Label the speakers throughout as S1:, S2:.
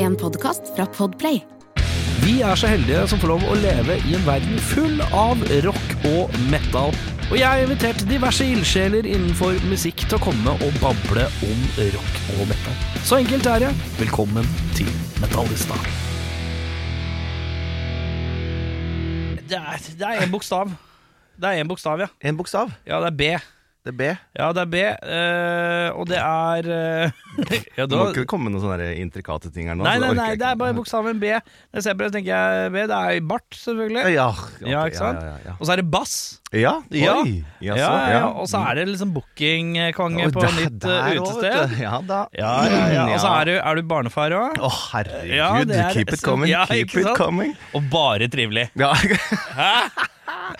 S1: En podcast fra Podplay.
S2: Vi er så heldige som får lov å leve i en verden full av rock og metal. Og jeg har invitert diverse ildsjeler innenfor musikk til å komme og bable om rock og metal. Så enkelt er det. Velkommen til Metallista.
S3: Det er, det er en bokstav. Det er en bokstav, ja.
S4: En bokstav.
S3: Ja, det er B.
S4: Det er B.
S3: Ja, det er B, eh, og det er eh, ja,
S4: Du
S3: da,
S4: må ikke komme med noen sånne der intrikate ting her nå.
S3: Nei,
S4: så
S3: nei,
S4: orker
S3: nei,
S4: jeg
S3: det er
S4: ikke.
S3: bare bokstaven B. Når jeg ser på det, tenker jeg B. Det er bart, selvfølgelig.
S4: Ja, ok,
S3: Ja, ikke sant?
S4: Ja, ja,
S3: Og så er det bass.
S4: ja. ja.
S3: Ja.
S4: Oi,
S3: Ja,
S4: jaså,
S3: ja, ja.
S4: ja.
S3: Og så er det liksom bookingkonge
S4: Og
S3: på
S4: der-
S3: nytt eh,
S4: der også, vet
S3: utested.
S4: du. Ja Mm, da.
S3: Ja, ja, ja. Og så er du, er du barnefar òg.
S4: Å,
S3: Ja,
S4: herregud.
S3: det er-
S4: keep it coming.
S3: Ja,
S4: keep
S3: ikke
S4: it
S3: sant?
S4: coming.
S3: Og bare trivelig.
S4: Ja.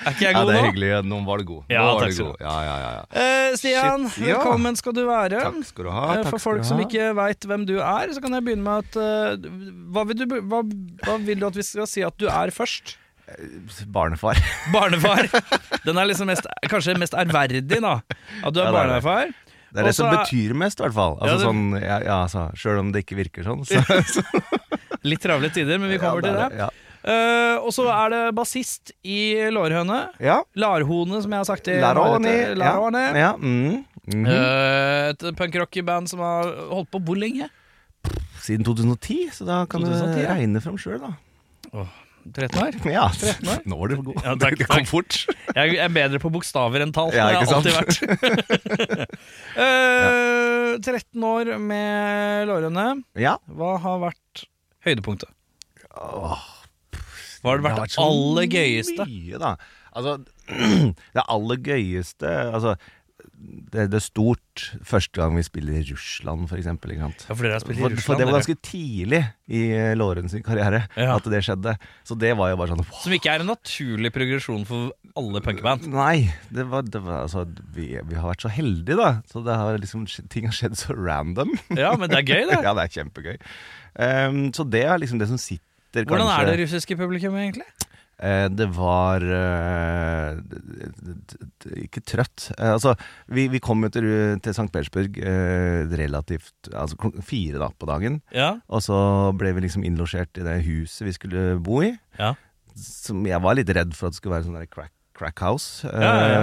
S3: Er ikke jeg
S4: ja,
S3: god
S4: det er
S3: nå?
S4: hyggelig. Nå var du god. Nå
S3: Ja,
S4: var
S3: takk
S4: du
S3: skal
S4: god. Ja, ja, ja, ja.
S3: Eh, Stian,
S4: Shit, ja.
S3: velkommen skal du være.
S4: Takk skal du ha.
S3: Eh,
S4: Takk
S3: For
S4: skal
S3: folk
S4: du
S3: som
S4: ha.
S3: ikke veit hvem du er, så kan jeg begynne med at eh, hva, vil du, hva, hva vil du at vi skal si at du er først?
S4: Barnefar.
S3: Barnefar. Den er liksom mest, kanskje mest ærverdig, da. At du er
S4: Ja, det er det.
S3: barnefar.
S4: Det er det
S3: Og så
S4: som
S3: er-
S4: betyr mest, i hvert fall.
S3: Ja,
S4: Altså,
S3: det-
S4: sånn, ja, ja, altså, Sjøl om det ikke virker sånn. Så,
S3: Litt travle tider, men vi kommer til
S4: Ja, det er
S3: det.
S4: det, ja.
S3: Eh, og så er det bassist i Lårhøne.
S4: ja.
S3: Larhone, som jeg har sagt til
S4: Laroni.
S3: Marit. Laroni.
S4: Ja. Ja. Mm. Mhm.
S3: Eh, et punkrockband som har holdt på hvor lenge?
S4: Siden 2010, så da kan
S3: 2010,
S4: du
S3: ja.
S4: regne fram sjøl, da.
S3: 13 år?
S4: Ja,
S3: år?
S4: nå var du god.
S3: Ja, takk,
S4: det kom
S3: takk.
S4: fort.
S3: Jeg er bedre på bokstaver enn tall.
S4: Ja,
S3: det har
S4: ikke
S3: jeg alltid vært. Eh, 13 år med lårene.
S4: Ja.
S3: Hva har vært høydepunktet?
S4: Åh,
S3: Hva har det vært sånn det
S4: så
S3: aller gøyeste?
S4: Mye, da. Altså, det aller gøyeste altså, det, det er stort første gang vi spiller i Russland, for eksempel. Ikke sant?
S3: Ja, for dere har spilt i
S4: For,
S3: Russland.
S4: for det var
S3: dere.
S4: ganske tidlig i eh, Låren sin karriere
S3: Ja.
S4: at det skjedde. Så det var jo bare sånn wow.
S3: Som ikke er en naturlig progresjon for alle punkband.
S4: Nei, det var, det var altså vi, vi har vært så heldige, da. Så det har liksom, skj- ting har skjedd så random.
S3: Ja, men det er gøy, det.
S4: ja, det er kjempegøy. Ehm, så det er liksom det som sitter,
S3: Hvordan er
S4: kanskje.
S3: det russiske publikummet, egentlig?
S4: Eh, det var eh, d- d- d- Ikke trøtt. Eh, altså, vi, vi kom jo til, Ru- til St. Petersburg eh, relativt altså, klok- fire da på dagen.
S3: Ja,
S4: Og så ble vi liksom innlosjert i det huset vi skulle bo i.
S3: Ja.
S4: Som jeg var litt redd for at det skulle være sånn der crack, crack house. Eh,
S3: Ja, ja,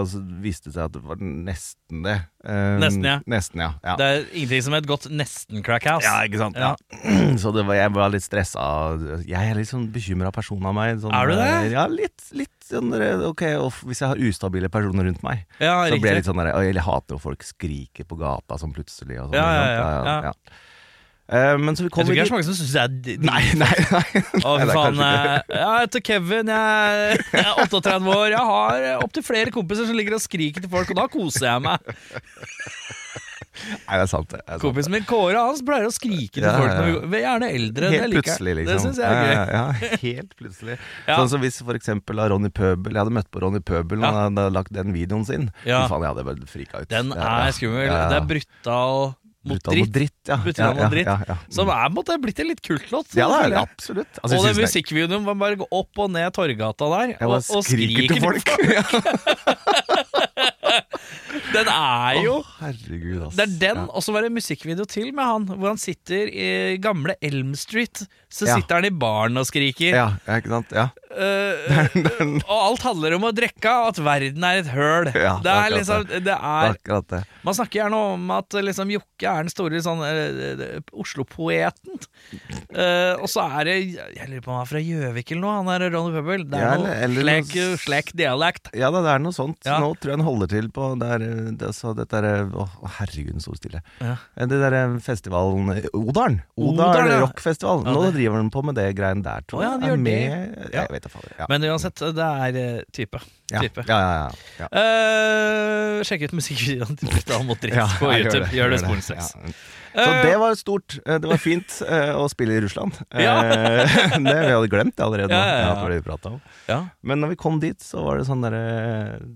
S4: og så viste det seg at det var nesten det. Eh,
S3: Nesten, ja.
S4: Nesten, ja. ja.
S3: Det er ingenting som et godt nesten-crackhouse.
S4: Ja, ikke sant?
S3: Ja.
S4: Ja. Så det var, jeg var litt stressa. Jeg er litt sånn bekymra person av meg. Sånn,
S3: Er du det?
S4: Ja, litt. litt sånn, der, ok, og f- Hvis jeg har ustabile personer rundt meg,
S3: ja
S4: så blir jeg
S3: riktig.
S4: litt sånn der, og Jeg hater når folk skriker på gata sånn plutselig. Og sånn,
S3: Ja, ja,
S4: ikke sant?
S3: ja, ja.
S4: Eh, men så vi
S3: Jeg
S4: kom
S3: tror ikke det
S4: vi
S3: er så mange som syns det er
S4: dit- Nei, nei, nei.
S3: Å, fy
S4: det er
S3: faen.
S4: kanskje
S3: eh, Ja, jeg heter Kevin, jeg jeg er 38 år. Jeg har eh, opptil flere kompiser som ligger og skriker til folk, og da koser jeg meg.
S4: nei, det er sant. det er sant.
S3: Kompisen min Kåre hans pleier å skrike til
S4: Ja,
S3: folk,
S4: ja, ja.
S3: når vi- vi er gjerne eldre. det
S4: Helt
S3: liker jeg.
S4: plutselig, liksom.
S3: Det syns jeg er
S4: Ja,
S3: gøy.
S4: Ja, ja, helt plutselig.
S3: Ja.
S4: Sånn som hvis for eksempel da Ronny Pøbel Jeg hadde møtt på Ronny Pøbel og
S3: Ja.
S4: han hadde lagt den videoen sin.
S3: Ja.
S4: Fy faen, jeg hadde bare frika ut.
S3: Den
S4: Ja, ja.
S3: er skummel.
S4: Ja,
S3: Det
S4: ja.
S3: er brutal mot
S4: Brutal
S3: dritt,
S4: mot dritt, ja.
S3: Brutal
S4: ja,
S3: mot dritt,
S4: Ja, ja, ja.
S3: som er på en måte blitt en litt kultlåt.
S4: ja, det
S3: føler
S4: er
S3: jeg.
S4: absolutt.
S3: Og
S4: Altså, jeg
S3: den
S4: synes det
S3: musikkvideoen var bare å gå opp og ned Torggata der
S4: er- jeg
S3: og,
S4: bare
S3: og
S4: skriker til folk.
S3: Den er jo
S4: Å, herregud, ass.
S3: Det er den,
S4: Ja.
S3: og så var det en musikkvideo til med han, hvor han sitter i gamle Elm Street. Så
S4: Ja.
S3: sitter han i baren og skriker.
S4: Ja, ja, ikke sant? Ja.
S3: Eh, og alt handler om å drikke, og at verden er et høl.
S4: Ja,
S3: det er
S4: akkurat
S3: liksom det
S4: Det er
S3: er,
S4: akkurat det.
S3: Man snakker gjerne om at eh, liksom, Jokke er den store sånn, eh, eh, Oslo-poeten. Eh, og så er det Jeg lurer på om han er fra Gjøvik eller noe, han er Ronny Pøbel. Det
S4: Ja,
S3: er noe
S4: eller- eller
S3: slik,
S4: noe-
S3: slik dialekt.
S4: Ja da, det er noe sånt.
S3: Ja.
S4: Nå tror jeg han holder til på det er, det, er så dette er, Å, å, herregud, den store stille.
S3: Ja.
S4: Eh, Det derre festivalen eh, Odalen.
S3: Odalen,
S4: Odalen
S3: ja.
S4: rockfestival.
S3: Ja,
S4: Nå
S3: det-
S4: driver han på med det greiene der, tror
S3: Å,
S4: jeg.
S3: ja, de
S4: Er
S3: gjør det.
S4: med,
S3: Ja.
S4: Jeg vet da fader. Ja.
S3: Men uansett, det er eh, type.
S4: ja.
S3: type.
S4: Ja, ja, ja. ja.
S3: Eh, sjekk ut musikkvideoen til Brutal mot dritt
S4: Ja,
S3: på
S4: jeg gjør
S3: YouTube.
S4: det,
S3: Gjør det
S4: jeg
S3: sporenstreks.
S4: Ja. Så det var stort. Eh, Det var fint eh, å spille i Russland. Eh,
S3: Ja.
S4: det, vi hadde glemt det allerede nå.
S3: Ja, ja, ja.
S4: Ja, det var det vi pratet om.
S3: Ja.
S4: Men når vi kom dit, så var det sånn derre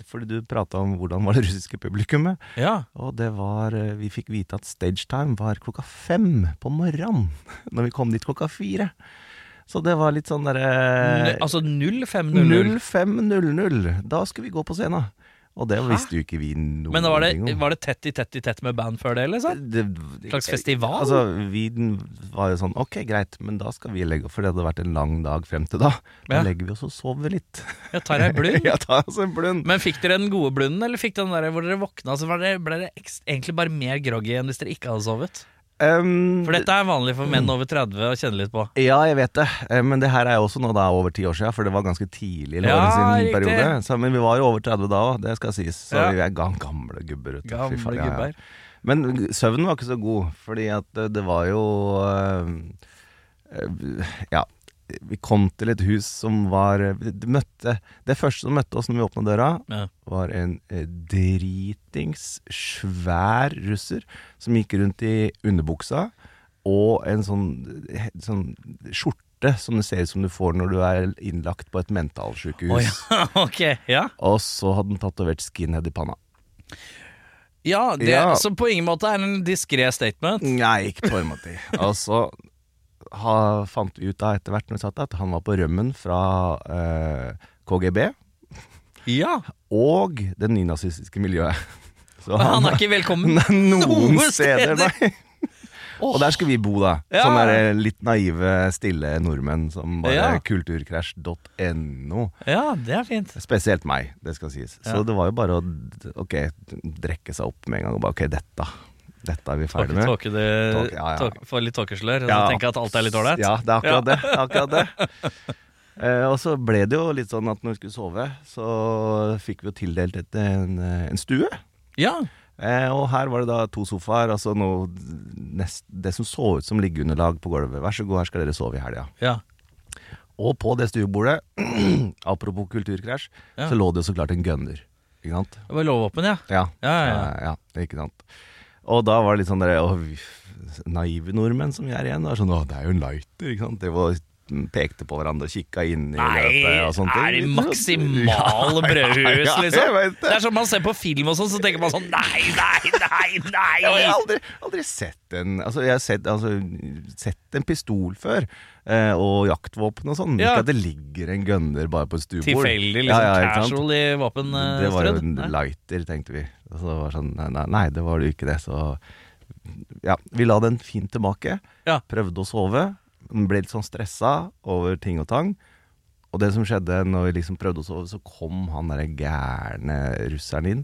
S4: Fordi du prata om hvordan var det russiske publikummet.
S3: ja.
S4: Og det var eh, Vi fikk vite at stagetime var klokka fem på morgenen. Når vi kom dit klokka fire. Så det var litt sånn derre
S3: N- Altså 0500.
S4: 05.00. Da skulle vi gå på scenen. Og det visste jo ikke vi noe
S3: Men da var det, var det tett i tett i tett med band før det, liksom?
S4: det,
S3: Slags festival?
S4: Altså, vi var jo sånn Ok, greit, men da skal vi legge oss, for det hadde vært en lang dag frem til da. Da
S3: Ja.
S4: legger vi oss og sover litt.
S3: Jeg tar ei blund.
S4: ja, ta oss en blund.
S3: Men fikk dere den gode blunden, eller fikk dere den der hvor dere våkna, så var det, ble det ekst, egentlig bare mer groggy enn hvis dere ikke hadde sovet?
S4: Ehm,
S3: For dette er vanlig for menn over 30 å kjenne litt på.
S4: Ja, jeg vet det, Eh, men det her er jo også nå da over ti år siden, for det var ganske tidlig i
S3: Ja,
S4: Lorentz sin
S3: riktig.
S4: periode. Så, men vi var jo over 30 da òg, det skal sies. Så
S3: Ja.
S4: vi er ga- gamle gubber. vet du. Fy
S3: Gamle
S4: faen, ja, ja.
S3: gubber.
S4: Men g- søvnen var ikke så god, fordi at det, det var jo eh, eh, Ja. Vi kom til et hus som var Det, møtte, det første som møtte oss når vi åpna døra,
S3: Ja.
S4: var en eh, dritings svær russer som gikk rundt i underbuksa og en sånn, he- sånn skjorte som det ser ut som du får når du er innlagt på et mentalsykehus.
S3: Å ja, ok, ja.
S4: Og så hadde han tatovert skinhead i panna.
S3: ja, det,
S4: Ja.
S3: Så på ingen måte er det en diskré statement.
S4: Nei, ikke på en måte. Og så ha, fant vi ut da etter hvert når vi satt der, at han var på rømmen fra eh, KGB
S3: Ja,
S4: og det nynazistiske miljøet. Så
S3: Men han er ikke velkommen.
S4: Nei, noen
S3: noe
S4: steder,
S3: steder.
S4: nei. Og der skulle vi bo, da.
S3: Ja.
S4: Sånne der eh, litt naive, stille nordmenn som bare
S3: Ja.
S4: kulturkrasj.no.
S3: Ja, det er fint.
S4: Spesielt meg, det skal sies. Så
S3: Ja.
S4: det var jo bare å d- ok, drekke seg opp med en gang og bare ok, dette, dette er vi ferdig med.
S3: Tåke det-
S4: Tåke, ja, ja.
S3: tåke- Få litt tåkeslør, og så
S4: Ja,
S3: tenke at alt er litt ålreit.
S4: Ja, det er akkurat det. det, er akkurat det. Eh, og så ble det jo litt sånn at når vi skulle sove, så fikk vi jo tildelt et, en, eh, en stue.
S3: Ja.
S4: Eh, og her var det da to sofaer, altså noe nest, det som så ut som liggeunderlag på gulvet. Vær så god, her skal dere sove i helga.
S3: ja.
S4: Og på det stuebordet, apropos kulturkrasj,
S3: Ja.
S4: så lå det jo så klart en gunner. Ikke sant?
S3: Det var lovåpen, ja.
S4: Ja,
S3: Ja, ja,
S4: ja, ikke sant. Og da var det litt sånn der, å, vi f- naive nordmenn som vi er igjen. Det, sånn, å, det er jo en lighter, ikke sant. Det var, pekte på hverandre og kikka inn i løpet og sånne
S3: er det
S4: ting.
S3: maksimale brødhus,
S4: ja, jeg
S3: liksom?
S4: vet det.
S3: Det er som man ser på film og sånn, så tenker man sånn Nei, nei, nei,
S4: Ja, men Jeg har
S3: nei!
S4: aldri, aldri sett en Altså, jeg har sett, altså, sett en pistol før, eh, og jaktvåpen og sånn.
S3: Ja.
S4: Ikke at det ligger en gunner bare på et stuebord.
S3: Tilfeldig, liksom.
S4: Ja, ja, ikke sant?
S3: casual i våpen eh,
S4: Det var jo
S3: strødd.
S4: en
S3: Nei.
S4: lighter, tenkte vi. Og så var det sånn, nei, nei, nei, det var det jo ikke det. Så ja, vi la den fint tilbake.
S3: Ja.
S4: Prøvde å sove. Den Ble litt sånn stressa over ting og tang. Og det som skjedde når vi liksom prøvde å sove, så kom han derre gærne russeren inn.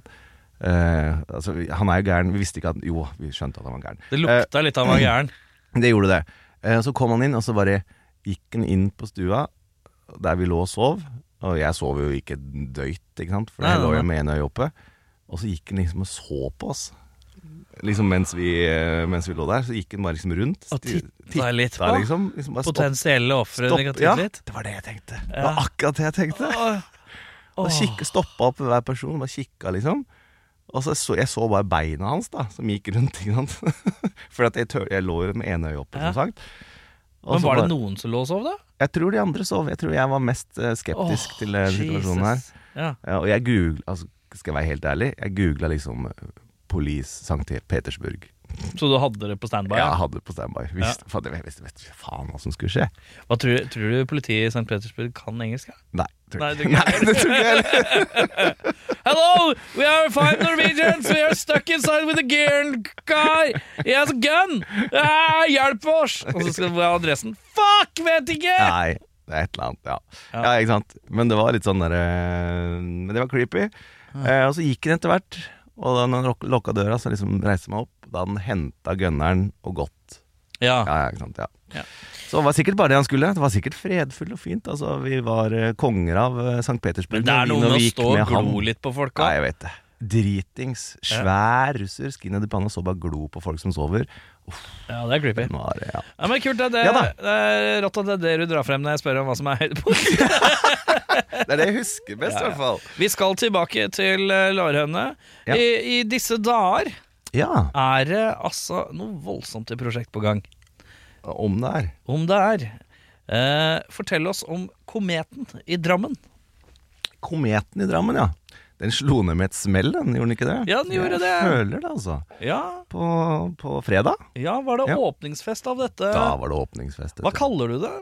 S4: Eh, altså, vi- han er jo gæren. Vi visste ikke at Jo, vi skjønte at han var gæren.
S3: Det
S4: Eh,
S3: lukta litt av han var gæren.
S4: Det gjorde det. Eh, Så kom han inn, og så bare gikk han inn på stua der vi lå og sov. Og jeg sov jo ikke døyt, ikke sant? for
S3: Nei,
S4: jeg
S3: nei,
S4: lå
S3: nei.
S4: jo med ene øye oppe. Og så gikk han liksom og så på oss. Liksom mens vi, eh, mens vi lå der, så gikk han bare liksom rundt.
S3: Og
S4: sti-
S3: titta litt
S4: titta
S3: på.
S4: Liksom, liksom bare stopp,
S3: Potensielle ofre.
S4: stopp.
S3: negativt
S4: Ja,
S3: litt.
S4: det var det jeg tenkte. Det
S3: Ja.
S4: var akkurat det jeg tenkte.
S3: Åh.
S4: Og kikke, stoppa opp ved hver person, bare kikka liksom. Og så så jeg så bare beina hans, da, som gikk rundt. ikke sant? For at jeg, tør, jeg lå jo med ene øye oppe,
S3: Ja.
S4: som sagt. Og
S3: Men
S4: så
S3: var
S4: bare-
S3: det noen som lå og sov, da?
S4: Jeg tror de andre sov. Jeg tror jeg var mest eh, skeptisk
S3: Åh,
S4: til eh, situasjonen her.
S3: Jesus. Ja.
S4: Ja, og jeg googla, altså, skal jeg være helt ærlig, jeg googla liksom eh, Police St. Petersburg.
S3: Så du hadde det på standby?
S4: Jeg
S3: ja?
S4: hadde det på standby. Visste, faen, jeg visste, vet ikke faen hva som skulle skje.
S3: Hva tror, tror du politiet i St. Petersburg kan engelsk? ja?
S4: Nei, tror
S3: Nei,
S4: jeg
S3: det tror
S4: ikke.
S3: jeg
S4: Nei, det tror jeg heller.
S3: Hello, we are five Norwegians. We are stuck inside with a gear guy. He has a gun. Ah, hjelp oss! Og så skal vi ha adressen. Fuck, vet ikke!
S4: Nei, det er et eller annet, ja.
S3: Ja.
S4: ja. ikke sant. Men det var litt sånn der eh, Men det var creepy. Eh, og så gikk den etter hvert. Og da når han lok- lukka døra, så liksom reiste han meg opp. Da hadde han henta gunneren og gått.
S3: Ja.
S4: Ja, ja, ikke sant, ja.
S3: Ja.
S4: Så det var sikkert bare det han skulle. Det var sikkert fredfullt og fint. Altså, vi var eh, konger av eh, St. Petersburg.
S3: Men det er
S4: vi-
S3: noe med
S4: når
S3: å
S4: vi gikk
S3: stå og
S4: med ham.
S3: glo litt på folk
S4: Ja,
S3: òg.
S4: jeg vet det. Dritings. Svær russer. Skinhead i panna. Så bare glo på folk som sover.
S3: Ja, det er creepy.
S4: Nå er det, ja.
S3: Ja, men kult, det er det,
S4: Ja da.
S3: det er rått at det er det du drar frem når jeg spør om hva som er høydepunkt.
S4: det er det jeg husker best, i hvert fall.
S3: Vi skal tilbake til eh, Lårhøne.
S4: Ja.
S3: I, I disse dager
S4: Ja,
S3: er det altså noe voldsomt i prosjekt på gang.
S4: om det er.
S3: Om det er. Eh, fortell oss om kometen i Drammen.
S4: Kometen i Drammen, ja. Den slo ned med et smell, den, gjorde den ikke det?
S3: Ja, den gjorde
S4: jeg
S3: det.
S4: føler det, altså.
S3: Ja,
S4: På, på fredag,
S3: ja var det
S4: Ja.
S3: åpningsfest av dette?
S4: da var det åpningsfest.
S3: Hva kaller du det?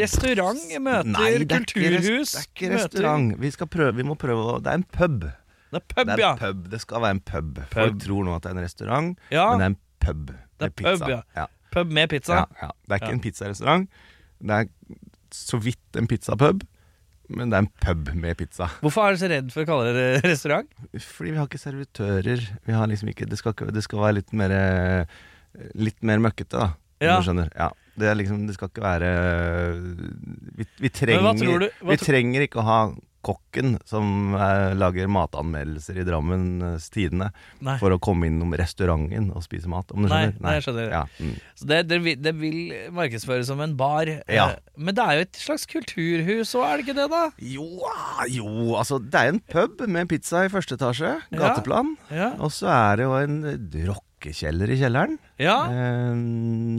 S3: Restaurant møter
S4: Nei, det er ikke rest-
S3: kulturhus?
S4: Det er ikke restaurant. Vi, skal prøve, vi må prøve å Det er en pub.
S3: Møter, det er pub,
S4: det er
S3: ja.
S4: pub. Det skal være en pub. Folk tror nå at det er en restaurant,
S3: Ja.
S4: men det er en pub.
S3: Det er
S4: med pizza.
S3: pub, ja.
S4: Ja.
S3: Pub med pizza.
S4: Ja, ja. Det er ikke
S3: Ja.
S4: en pizzarestaurant. Det er så vidt en pizzapub, men det er en pub med pizza.
S3: Hvorfor er du så redd for å kalle det restaurant?
S4: Fordi vi har ikke servitører. Vi har liksom ikke Det skal, ikke, det skal være litt mer eh, Litt mer møkkete, da. om
S3: Ja.
S4: Du skjønner. Ja. Det, er liksom, det skal ikke være Vi, vi,
S3: Men hva
S4: trenger,
S3: tror du- hva
S4: vi
S3: tro-
S4: trenger ikke å ha kokken som eh, lager matanmeldelser i Drammens Tidende
S3: Nei.
S4: for å komme innom restauranten og spise mat. Om du
S3: Nei,
S4: skjønner?
S3: nei, jeg skjønner.
S4: Ja. Mm.
S3: Så det, det, vil- det vil markedsføres som en bar.
S4: Ja.
S3: Eh, Men det er jo et slags kulturhus òg, er det ikke det, da?
S4: Jo, ah, jo, altså Det er en pub med pizza i første etasje.
S3: Ja.
S4: Gateplan.
S3: Ja.
S4: Og så er det jo en eh, rockekjeller i kjelleren.
S3: ja.
S4: Eh,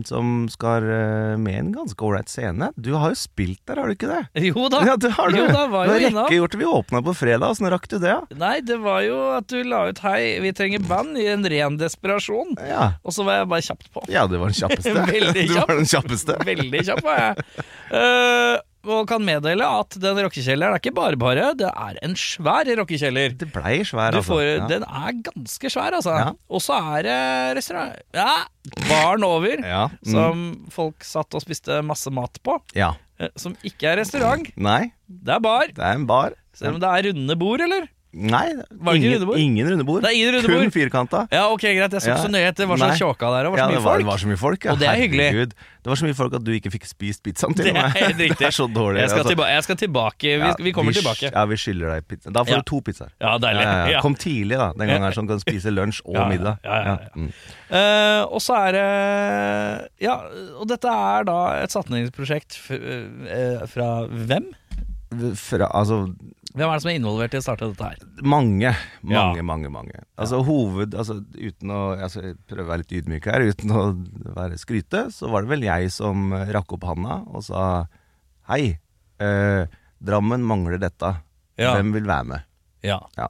S4: som skal eh, med en ganske ålreit scene. Du har jo spilt der, har du ikke det?
S3: Jo da.
S4: Eh, Ja, det har du.
S3: Jo da, var
S4: du har
S3: jo innom.
S4: rekkegjort det. Vi åpna på fredag, åssen rakk du det? da?
S3: Nei, det var jo at du la ut 'Hei, vi trenger band' i en ren desperasjon.
S4: Ja.
S3: Og så var jeg bare kjapt på.
S4: ja, du var den kjappeste.
S3: Veldig
S4: Du
S3: kjapp.
S4: var den kjappeste.
S3: Veldig kjapp var jeg. Eh, og kan meddele at den rockekjelleren er ikke bare bare, det er en svær rockekjeller.
S4: Det blei svær,
S3: Du
S4: altså.
S3: får,
S4: ja.
S3: Den er ganske svær, altså.
S4: Ja.
S3: Og så er det restaurant Ja, baren over,
S4: Ja. Mm.
S3: som folk satt og spiste masse mat på.
S4: ja.
S3: eh, Som ikke er restaurant,
S4: Nei,
S3: det er bar.
S4: det er en bar.
S3: Selv om det er runde bord, eller?
S4: Nei,
S3: Var det ikke
S4: ingen,
S3: rundebord?
S4: ingen rundebord.
S3: Det er ingen runde bord.
S4: Kun firkanta.
S3: Ja, ok, greit. Jeg så ikke
S4: Ja.
S3: så nøye etter hva slags
S4: Nei.
S3: kjåka det er, og hva
S4: Ja,
S3: så
S4: det
S3: mye
S4: var,
S3: folk.
S4: det var så mye folk. Ja.
S3: Og det er hyggelig.
S4: Herregud. Det var så mye folk at du ikke fikk spist pizzaen til
S3: Det
S4: og med.
S3: er helt
S4: Det
S3: riktig.
S4: er så dårlig.
S3: Jeg skal,
S4: altså.
S3: tilba jeg skal tilbake. Vi,
S4: Ja,
S3: vi kommer
S4: sk-
S3: tilbake.
S4: Ja, vi skylder deg pizza. Da får
S3: Ja.
S4: du to pizzaer.
S3: Ja, deilig.
S4: Ja, ja, ja.
S3: Ja.
S4: Kom tidlig, da. Den gangen her, sånn kan spise lunsj og
S3: Ja, ja,
S4: middag.
S3: ja, ja, ja.
S4: Mm.
S3: Eh, og så er det Ja, og dette er da et satningsprosjekt f eh, fra hvem?
S4: Fra, altså,
S3: Hvem er det som er involvert i å starte dette her?
S4: mange, mange,
S3: Ja.
S4: mange. mange Altså hoved altså, Uten å altså, jeg prøver å være litt ydmyk her, uten å være skryte, så var det vel jeg som eh, rakk opp handa og sa Hei, eh, Drammen mangler dette.
S3: Ja.
S4: Hvem vil være med?
S3: Ja.
S4: Ja.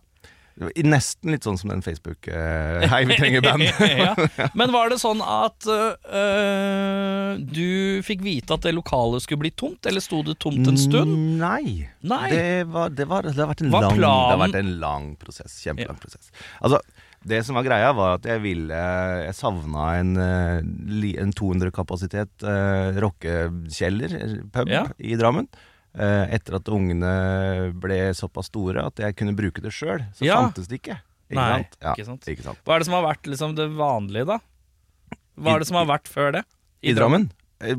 S4: Det var i- Nesten litt sånn som den Facebook eh, Hei, vi trenger band.
S3: ja. Men var det sånn at eh, du fikk vite at det lokalet skulle bli tomt, eller sto det tomt en stund?
S4: Nei.
S3: Nei.
S4: Det, var, det, var, det, har vært en
S3: Var
S4: lang, det har
S3: planen-
S4: vært en lang prosess. Kjempelang prosess. Altså, det som var greia, var at jeg ville Jeg savna en, eh, li- en 200-kapasitet eh, rockekjeller, eh, pub,
S3: Ja.
S4: i Drammen. Eh, etter at ungene ble såpass store at jeg kunne bruke det sjøl, så
S3: Ja.
S4: fantes det ikke. Ikke
S3: Nei,
S4: sant? Ja,
S3: ikke sant.
S4: Ikke sant?
S3: Hva er det som har vært liksom, det vanlige, da? Hva
S4: I-
S3: er det som har vært før det?
S4: I Drammen? eh,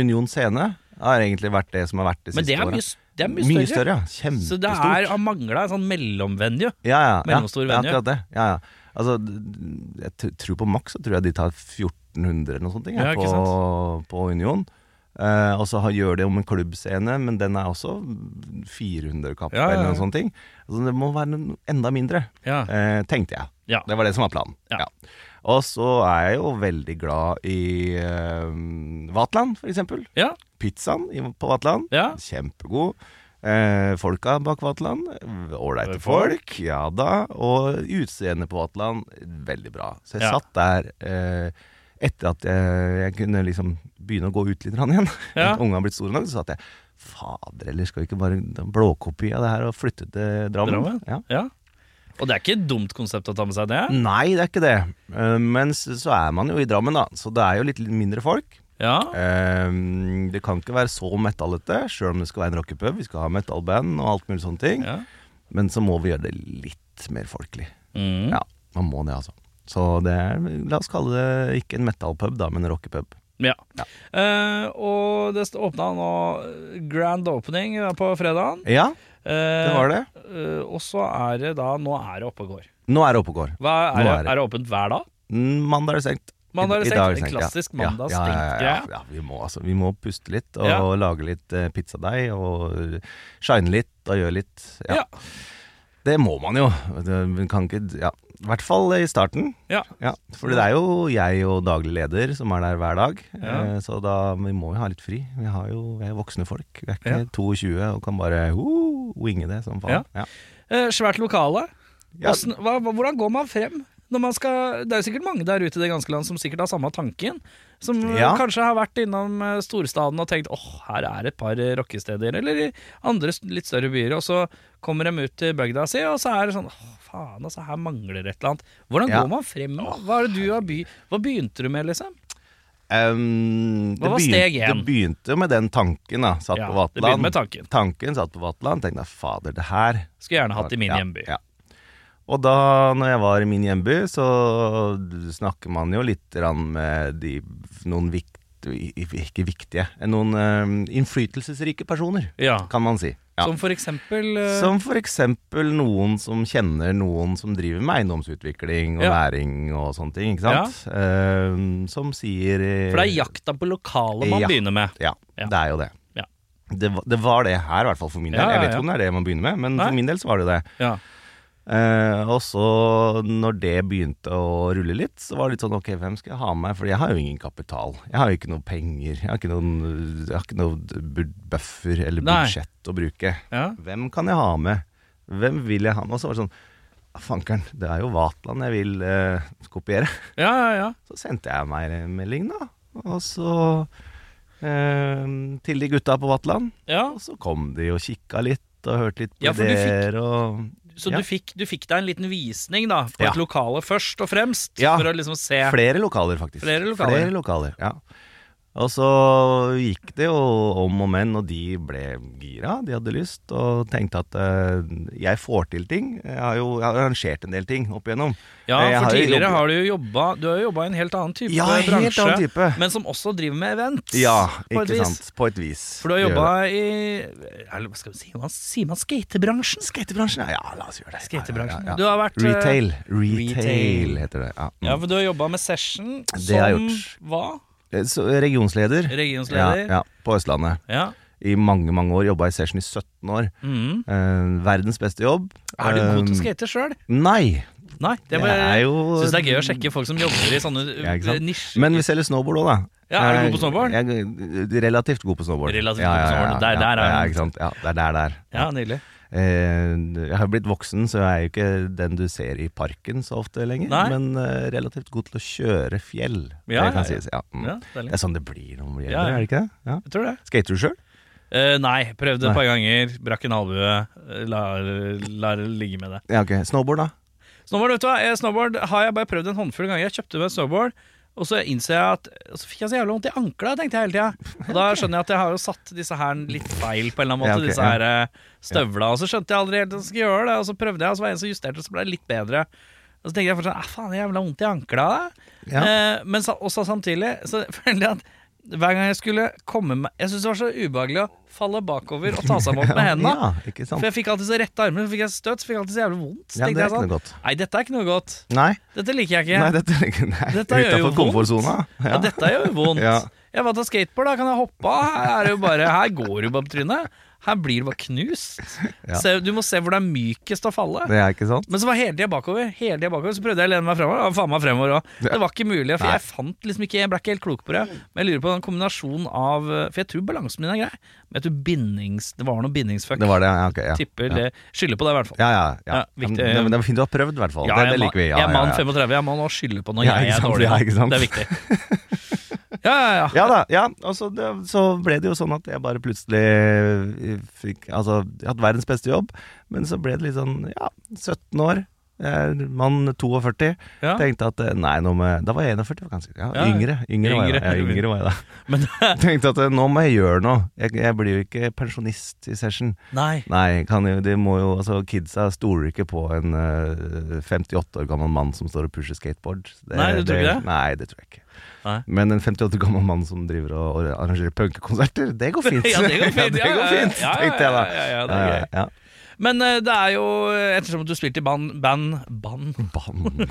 S4: Union Scene har egentlig vært det som har vært de
S3: Men det
S4: siste
S3: er mye,
S4: åra.
S3: s- det er mye større.
S4: ja. Kjempestort.
S3: Så det er, har mangla en sånn mellomvenue.
S4: Ja, ja,
S3: Mellomstor
S4: ja,
S3: venue.
S4: Ja, akkurat det. Ja, ja. Altså, d- jeg t- tror på maks så tror jeg de tar 1400 eller noe sånt
S3: Ja,
S4: ja,
S3: ikke
S4: på, på Union. Eh, og så har- gjør de om en klubbscene, men den er også 400 kapp
S3: Ja, ja,
S4: eller
S3: ja.
S4: noe sånt. ting. Altså, det må være noe enda mindre,
S3: Ja.
S4: eh, tenkte jeg.
S3: Ja.
S4: Det var det som var planen.
S3: Ja.
S4: Ja. Og så er jeg jo veldig glad i eh, Vatland, for eksempel.
S3: Ja,
S4: Pizzaen i- på Vatland.
S3: ja.
S4: Kjempegod. Eh, folka bak Vatland, v- ålreite
S3: Folk.
S4: folk, ja da. Og utseendet på Vatland, veldig bra. Så jeg
S3: Ja.
S4: satt der eh, etter at jeg, jeg kunne liksom begynne å gå ut litt grann igjen.
S3: Ja.
S4: Ungene har blitt store nok, så satt jeg Fader, eller skal vi ikke bare ta en blåkopi av det her og flytte til Drammen?
S3: Drammen?
S4: Ja.
S3: ja. Og det er ikke et dumt konsept å ta med seg det.
S4: Nei, det er ikke det. Eh, Men s- så er man jo i Drammen, da. Så det er jo litt mindre folk.
S3: Ja,
S4: Ehm, det kan ikke være så metallete, sjøl om det skal være en rockepub. Vi skal ha metallband og alt mulig sånne ting.
S3: ja.
S4: Men så må vi gjøre det litt mer folkelig.
S3: Mm.
S4: Ja, man må det, altså. Så det er, la oss kalle det ikke en metallpub, da, men en rockepub.
S3: ja.
S4: Ja.
S3: Eh, og det st- åpna nå grand opening da på fredagen.
S4: Ja,
S3: Eh,
S4: det var det.
S3: eh, og så er det da Nå er det oppe og går.
S4: Nå er det oppe og går.
S3: Hva, er,
S4: Nå
S3: det,
S4: er det.
S3: er det åpent hver dag?
S4: Mm, Mandag er det stengt.
S3: Mandag er det
S4: I- i dag
S3: stengt. En
S4: ja.
S3: klassisk
S4: Ja,
S3: mandagsstengt
S4: ja, ja, ja,
S3: greie.
S4: ja, vi må altså Vi må puste litt og
S3: Ja.
S4: eh, lage litt eh, pizzadeig og shine litt og gjøre litt.
S3: Ja.
S4: Ja. Det må man jo. Det- man Kan ikke, ja. I hvert fall i starten.
S3: Ja.
S4: Ja, for det er jo jeg og daglig leder som er der hver dag.
S3: Ja.
S4: Eh, Så da, vi må jo ha litt fri. Vi, har jo, vi er voksne folk. Vi er
S3: Ja.
S4: ikke 22 og kan bare uh, winge det som faen. Ja.
S3: Eh, svært lokale.
S4: Ja.
S3: Hvordan, hva, hva- hvordan går man frem? Når man skal, det er jo sikkert mange der ute i det ganske land som sikkert har samme tanken. Som eh,
S4: Ja.
S3: kanskje har vært innom eh, storstaden og tenkt åh, her er et par eh, rockesteder. Eller i andre s- litt større byer. Og så kommer de ut til bygda si, og så er det sånn åh, faen, altså, her mangler et eller annet. Hvordan
S4: Ja.
S3: går man frem? da? Hva, er det du har by, hva begynte du med, liksom?
S4: Ehm,
S3: Hva var
S4: det
S3: steg
S4: begynte-
S3: én?
S4: Det begynte med den tanken, da. Satt
S3: Ja,
S4: på
S3: det begynner
S4: Vatland.
S3: med tanken.
S4: Tanken satt på Vatland. Tenkte jeg, fader, det her
S3: Skulle gjerne hatt i min
S4: Ja,
S3: hjemby.
S4: Ja. Og da når jeg var i min hjemby, så snakker man jo litt grann med de, noen vikt, ikke viktige, noen eh, innflytelsesrike personer,
S3: Ja.
S4: kan man si. Ja.
S3: Som for eksempel eh,
S4: Som for eksempel noen som kjenner noen som driver med eiendomsutvikling og
S3: Ja.
S4: næring og sånne ting, ikke sant? Eh, som sier eh,
S3: For det er jakta på lokale man
S4: Ja.
S3: begynner med.
S4: ja,
S3: Ja.
S4: det er jo det.
S3: Ja.
S4: det. var- Det var det her, i hvert fall for min del.
S3: Ja, ja,
S4: Jeg vet
S3: ja.
S4: ikke om det er det man begynner med, men
S3: Nei.
S4: for min del så var det jo det.
S3: Ja.
S4: Eh, og så, når det begynte å rulle litt, så var det litt sånn Ok, hvem skal jeg ha med? Fordi jeg har jo ingen kapital. Jeg har jo ikke noe penger. Jeg har ikke noen Jeg har ikke noe bu- buffer eller
S3: Nei.
S4: budsjett å bruke.
S3: Ja.
S4: Hvem kan jeg ha med? Hvem vil jeg ha med? Og så var det sånn «Ah, Fankeren, det er jo Vatland jeg vil eh, kopiere.
S3: ja, ja, ja.
S4: Så sendte jeg meg en melding, da. Og så eh, til de gutta på Vatland.
S3: ja.
S4: Og så kom de og kikka litt. Og hørte litt på
S3: Ja, for du fikk-
S4: dere og
S3: Så
S4: Ja.
S3: du, fikk, du fikk deg en liten visning da på
S4: Ja.
S3: et lokale først og fremst?
S4: Ja.
S3: For å liksom se
S4: Flere lokaler, faktisk.
S3: Flere lokaler.
S4: Flere lokaler, ja. Og så gikk det jo om og men, og de ble gira. De hadde lyst og tenkte at eh, jeg får til ting. Jeg har jo jeg har arrangert en del ting opp igjennom.
S3: Ja,
S4: Eh, jeg
S3: for
S4: har jo
S3: tidligere
S4: jobbet-
S3: har du jo jobba Du har jo jobba i en helt annen type
S4: Ja, helt
S3: bransje.
S4: annen type.
S3: Men som også driver med events.
S4: Ja,
S3: på et
S4: ikke
S3: vis.
S4: sant. På et vis.
S3: For du har
S4: Det
S3: jobba
S4: gjør det.
S3: i eller, Hva skal vi si? Hva sier man? Skatebransjen?
S4: Skatebransjen? Ja, ja, la oss gjøre det. Ja, ja,
S3: Skatebransjen.
S4: ja, ja.
S3: Du har vært, eh,
S4: Retail. Retail.
S3: retail.
S4: heter det. Ja.
S3: Ja, for du har jobba med Session
S4: Det har jeg
S3: som
S4: gjort.
S3: hva?
S4: Eh, Så, regionsleder.
S3: Regionsleder.
S4: Ja, ja, på Østlandet.
S3: Ja.
S4: I mange, mange år. Jobba i Session i 17 år.
S3: Mhm.
S4: Eh, verdens beste jobb.
S3: Er du god til å
S4: Eh,
S3: skate sjøl?
S4: Nei.
S3: Nei. Det
S4: Det
S3: bare,
S4: er jo
S3: Syns det er gøy å sjekke folk som jobber i sånne
S4: Ja, ikke sant?
S3: nisjer.
S4: Men vi selger snowboard òg, da. Eh,
S3: Ja, er du god på snowboard?
S4: Jeg er relativt god på snowboard.
S3: Relativt god på snowboard. Der- der er
S4: ja,
S3: han.
S4: ikke sant? Ja, det er der, der.
S3: Ja, nydelig.
S4: Eh, Jeg har blitt voksen, så jeg er jo ikke den du ser i parken så ofte lenger.
S3: Nei.
S4: Men eh, relativt god til å kjøre fjell,
S3: Ja,
S4: det
S3: ja,
S4: kan
S3: ja.
S4: sies. Ja. mm.
S3: Ja, deilig.
S4: det er sånn det blir når man blir
S3: Ja, ja.
S4: eldre, er det ikke det? Ja.
S3: Jeg tror det.
S4: Skater du sjøl?
S3: Eh, nei, prøvde
S4: Nei.
S3: et par ganger. Brakk en albue. eh, Lar, lar det ligge med det.
S4: Ja, ok. Snowboard, da?
S3: Snowboard vet du hva? Eh, Snowboard har jeg bare prøvd en håndfull ganger. Jeg kjøpte meg en snowboard, og så innser jeg at og Så fikk jeg så jævlig vondt i ankla, tenkte jeg hele tida. Og da skjønner jeg at jeg har jo satt disse her litt feil på en eller annen måte.
S4: Ja, ok,
S3: disse
S4: ja.
S3: her eh, støvla. Og så skjønte jeg aldri helt at jeg skulle gjøre det, og så prøvde jeg, og så var det en som justerte, og så ble det litt bedre. Og så tenkte jeg fortsatt Æh, faen, jævla vondt i ankla.
S4: Ja.
S3: Eh, men sa- også samtidig så følte jeg at hver gang jeg skulle komme meg Jeg syntes det var så ubehagelig å falle bakover og ta seg imot med hendene.
S4: Ja, ikke sant?
S3: For jeg fikk alltid så rette armer, så fikk jeg støt, så fikk jeg alltid så jævlig vondt.
S4: Ja,
S3: tenkte
S4: det er
S3: jeg
S4: ikke
S3: sånn.
S4: noe godt.
S3: Nei, dette er ikke noe godt.
S4: Nei,
S3: Dette liker jeg ikke.
S4: nei dette er ikke nei.
S3: Dette gjør jo
S4: Utenfor
S3: vondt.
S4: komfortsona.
S3: ja. dette gjør jo vondt.
S4: Ja.
S3: Jeg vant av skateboard, da kan jeg hoppe av. Her, er det jo bare, her går det jo bare på trynet. Her blir det bare knust.
S4: Ja.
S3: Se, du må se hvor det er mykest å falle.
S4: Det er ikke sant?
S3: Men så var hele tida bakover. Hele tiden bakover Så prøvde jeg å lene meg fremover. Og faen meg fremover også. Det var ikke mulig. For
S4: Nei.
S3: jeg fant liksom ikke Jeg ble ikke helt klok på det. Men jeg lurer på den kombinasjonen av For jeg tror balansen min er grei. Men jeg tror bindings Det var noe bindingsfuck.
S4: Det var det, ja. ok, ja.
S3: Tipper
S4: ja.
S3: det. Skylder på det, i hvert fall.
S4: Ja, ja. ja.
S3: Ja, viktig.
S4: Men det, men det var fint du har prøvd, i hvert fall.
S3: Ja,
S4: det,
S3: jeg,
S4: det
S3: er ma-
S4: liker vi. Ja,
S3: jeg er mann
S4: ja, ja.
S3: 35, jeg må nå skylde på når
S4: Ja,
S3: jeg
S4: ikke
S3: er
S4: sant,
S3: dårlig.
S4: ja, ikke sant.
S3: Det er viktig. Ja, ja, ja.
S4: Ja da, ja. Og så, det, så ble det jo sånn at jeg bare plutselig fikk Altså, jeg hadde verdens beste jobb, men så ble det litt sånn Ja, 17 år. Jeg er mann 42.
S3: Ja.
S4: Tenkte at eh, nei, nå må jeg Da var jeg 41, var kanskje. Ja,
S3: Ja, ja.
S4: Yngre. Yngre var jeg da. Ja,
S3: Yngre.
S4: yngre var jeg da.
S3: Men
S4: Tenkte at eh, nå må jeg gjøre noe. Jeg, jeg blir jo ikke pensjonist i session.
S3: nei.
S4: Nei, kan jo, de må jo Altså, kidsa stoler ikke på en eh, 58 år gammel mann som står og pusher skateboard. Det,
S3: Nei, du tror ikke det?
S4: Nei, det tror jeg ikke.
S3: Nei.
S4: Men en 58 år gammel mann som driver og, og arrangerer punkekonserter, det går fint.
S3: Ja, det går fint,
S4: ja, det går fint,
S3: ja, ja,
S4: tenkte jeg da.
S3: ja, ja, ja, det er
S4: Ja,
S3: gøy.
S4: ja.
S3: Men eh, det er jo eh, Ettersom at du spilte i band Band? band.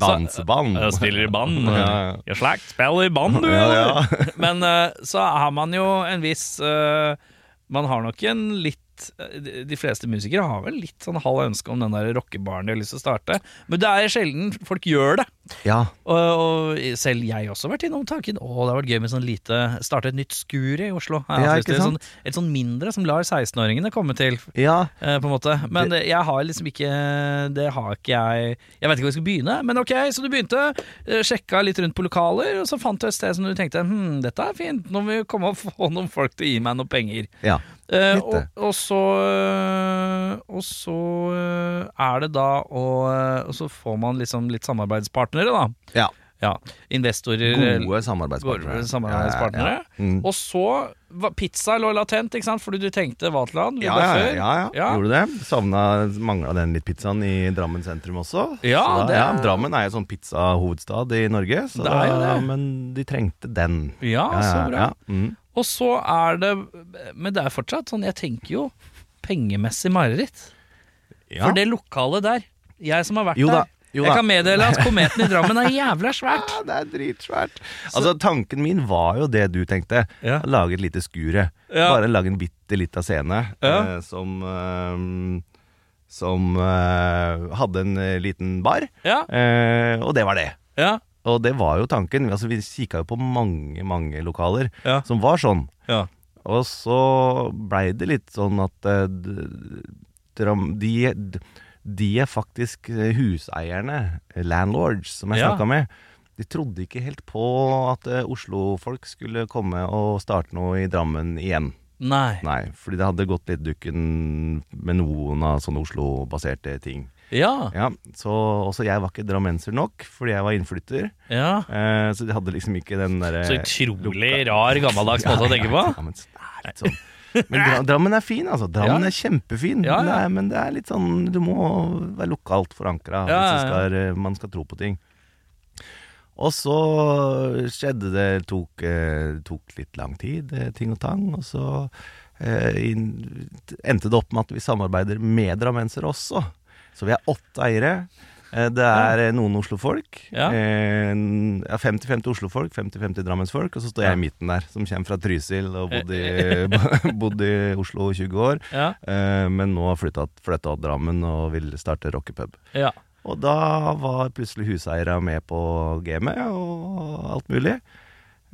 S4: Band. Danseband.
S3: Jeg spiller i band.
S4: Ja, ja.
S3: Jeg slakt spiller i band, du.
S4: Ja, ja.
S3: eller? Men eh, så har man jo en viss eh, Man har nok en litt litt eh, De fleste musikere har vel litt sånn halv ønske om den der rockebaren de har lyst til å starte, men det er sjelden folk gjør det.
S4: Ja,
S3: Og, og selv jeg også har vært innom tanken Å, det har vært gøy med sånn lite Starte et nytt skur i Oslo Jeg har
S4: Ja,
S3: hatt lyst
S4: ikke
S3: til
S4: sant?
S3: Sånn, Et sånn mindre som lar 16-åringene komme til
S4: ja.
S3: eh, På en måte Men jeg har liksom ikke Det har ikke jeg Jeg vet ikke hvor jeg skal begynne Men ok, så du begynte eh, Sjekka litt rundt på lokaler Og så fant du et sted som du tenkte Hm, dette er fint Nå må vi komme og få noen folk til å gi meg noen penger
S4: ja.
S3: Eh,
S4: Litt,
S3: og,
S4: det.
S3: og så eh, Og så eh, er det da å, eh, Og så får man liksom litt samarbeidspartnere da
S4: ja.
S3: ja. Investorer eh,
S4: Gode
S3: eller-
S4: samarbeidspartnere.
S3: gode samarbeidspartnere.
S4: Ja, ja, ja. Mm.
S3: Og så var pizza lå latent, ikke sant? fordi du tenkte Vaterland.
S4: Ja, ja, ja, ja, ja. Gjorde det. Savna, mangla den litt pizzaen i Drammen sentrum også.
S3: Ja,
S4: Så
S3: det-
S4: ja, Drammen er jo sånn pizzahovedstad i Norge, så
S3: Det er jo
S4: da-
S3: det.
S4: men de trengte den.
S3: Ja, så bra.
S4: Ja, mm.
S3: Og så er det Men det er fortsatt sånn, jeg tenker jo pengemessig mareritt.
S4: ja.
S3: For det lokalet der, jeg som har vært
S4: Jo da,
S3: der
S4: jo
S3: Jeg
S4: da.
S3: kan meddele at kometen i Drammen er jævla svært.
S4: Ja, det er dritsvært. Altså, tanken min var jo det du tenkte.
S3: Ja.
S4: Lage et lite skure.
S3: Ja.
S4: Bare lage en bitte lita scene
S3: Ja.
S4: eh, som eh, Som eh, hadde en eh, liten bar.
S3: Ja,
S4: Eh, og det var det.
S3: ja,
S4: Og det var jo tanken. Altså, vi kikka jo på mange, mange lokaler
S3: Ja.
S4: som var sånn.
S3: ja.
S4: Og så blei det litt sånn at eh, d- dram- de, d- de er faktisk eh, huseierne, eh, landlords, som jeg
S3: Ja.
S4: snakka med. De trodde ikke helt på at eh, Oslo-folk skulle komme og starte noe i Drammen igjen.
S3: Nei.
S4: Nei, fordi det hadde gått litt dukken med noen av sånne Oslo-baserte ting.
S3: Ja,
S4: Ja, så også jeg var ikke drammenser nok, fordi jeg var innflytter.
S3: ja.
S4: Eh, så de hadde liksom ikke den derre
S3: Så utrolig rar, gammeldags måte å tenke på.
S4: Ja, men det er litt sånn. Men Dra- Drammen er fin, altså. Drammen
S3: Ja.
S4: er kjempefin.
S3: Ja, ja.
S4: Men, det er, men det er litt sånn Du må være lokalt
S3: Ja,
S4: forankra
S3: ja,
S4: hvis du
S3: ja.
S4: skal, eh, man skal tro på ting. Og så skjedde det tok, eh, tok litt lang tid, eh, ting og tang. Og så eh, inn- endte det opp med at vi samarbeider med drammensere også. Så vi er åtte eiere. Eh, Det er eh, noen Oslo-folk.
S3: Ja.
S4: eh, en- ja, 50-50 Oslo-folk, 50-50 Drammensfolk. Og så står jeg i midten der, som kommer fra Trysil og bodd i, bodd i Oslo i 20 år.
S3: Ja,
S4: eh, Men nå har flytta til Drammen og vil starte rockepub.
S3: ja.
S4: Og da var plutselig huseiere med på gamet og alt mulig.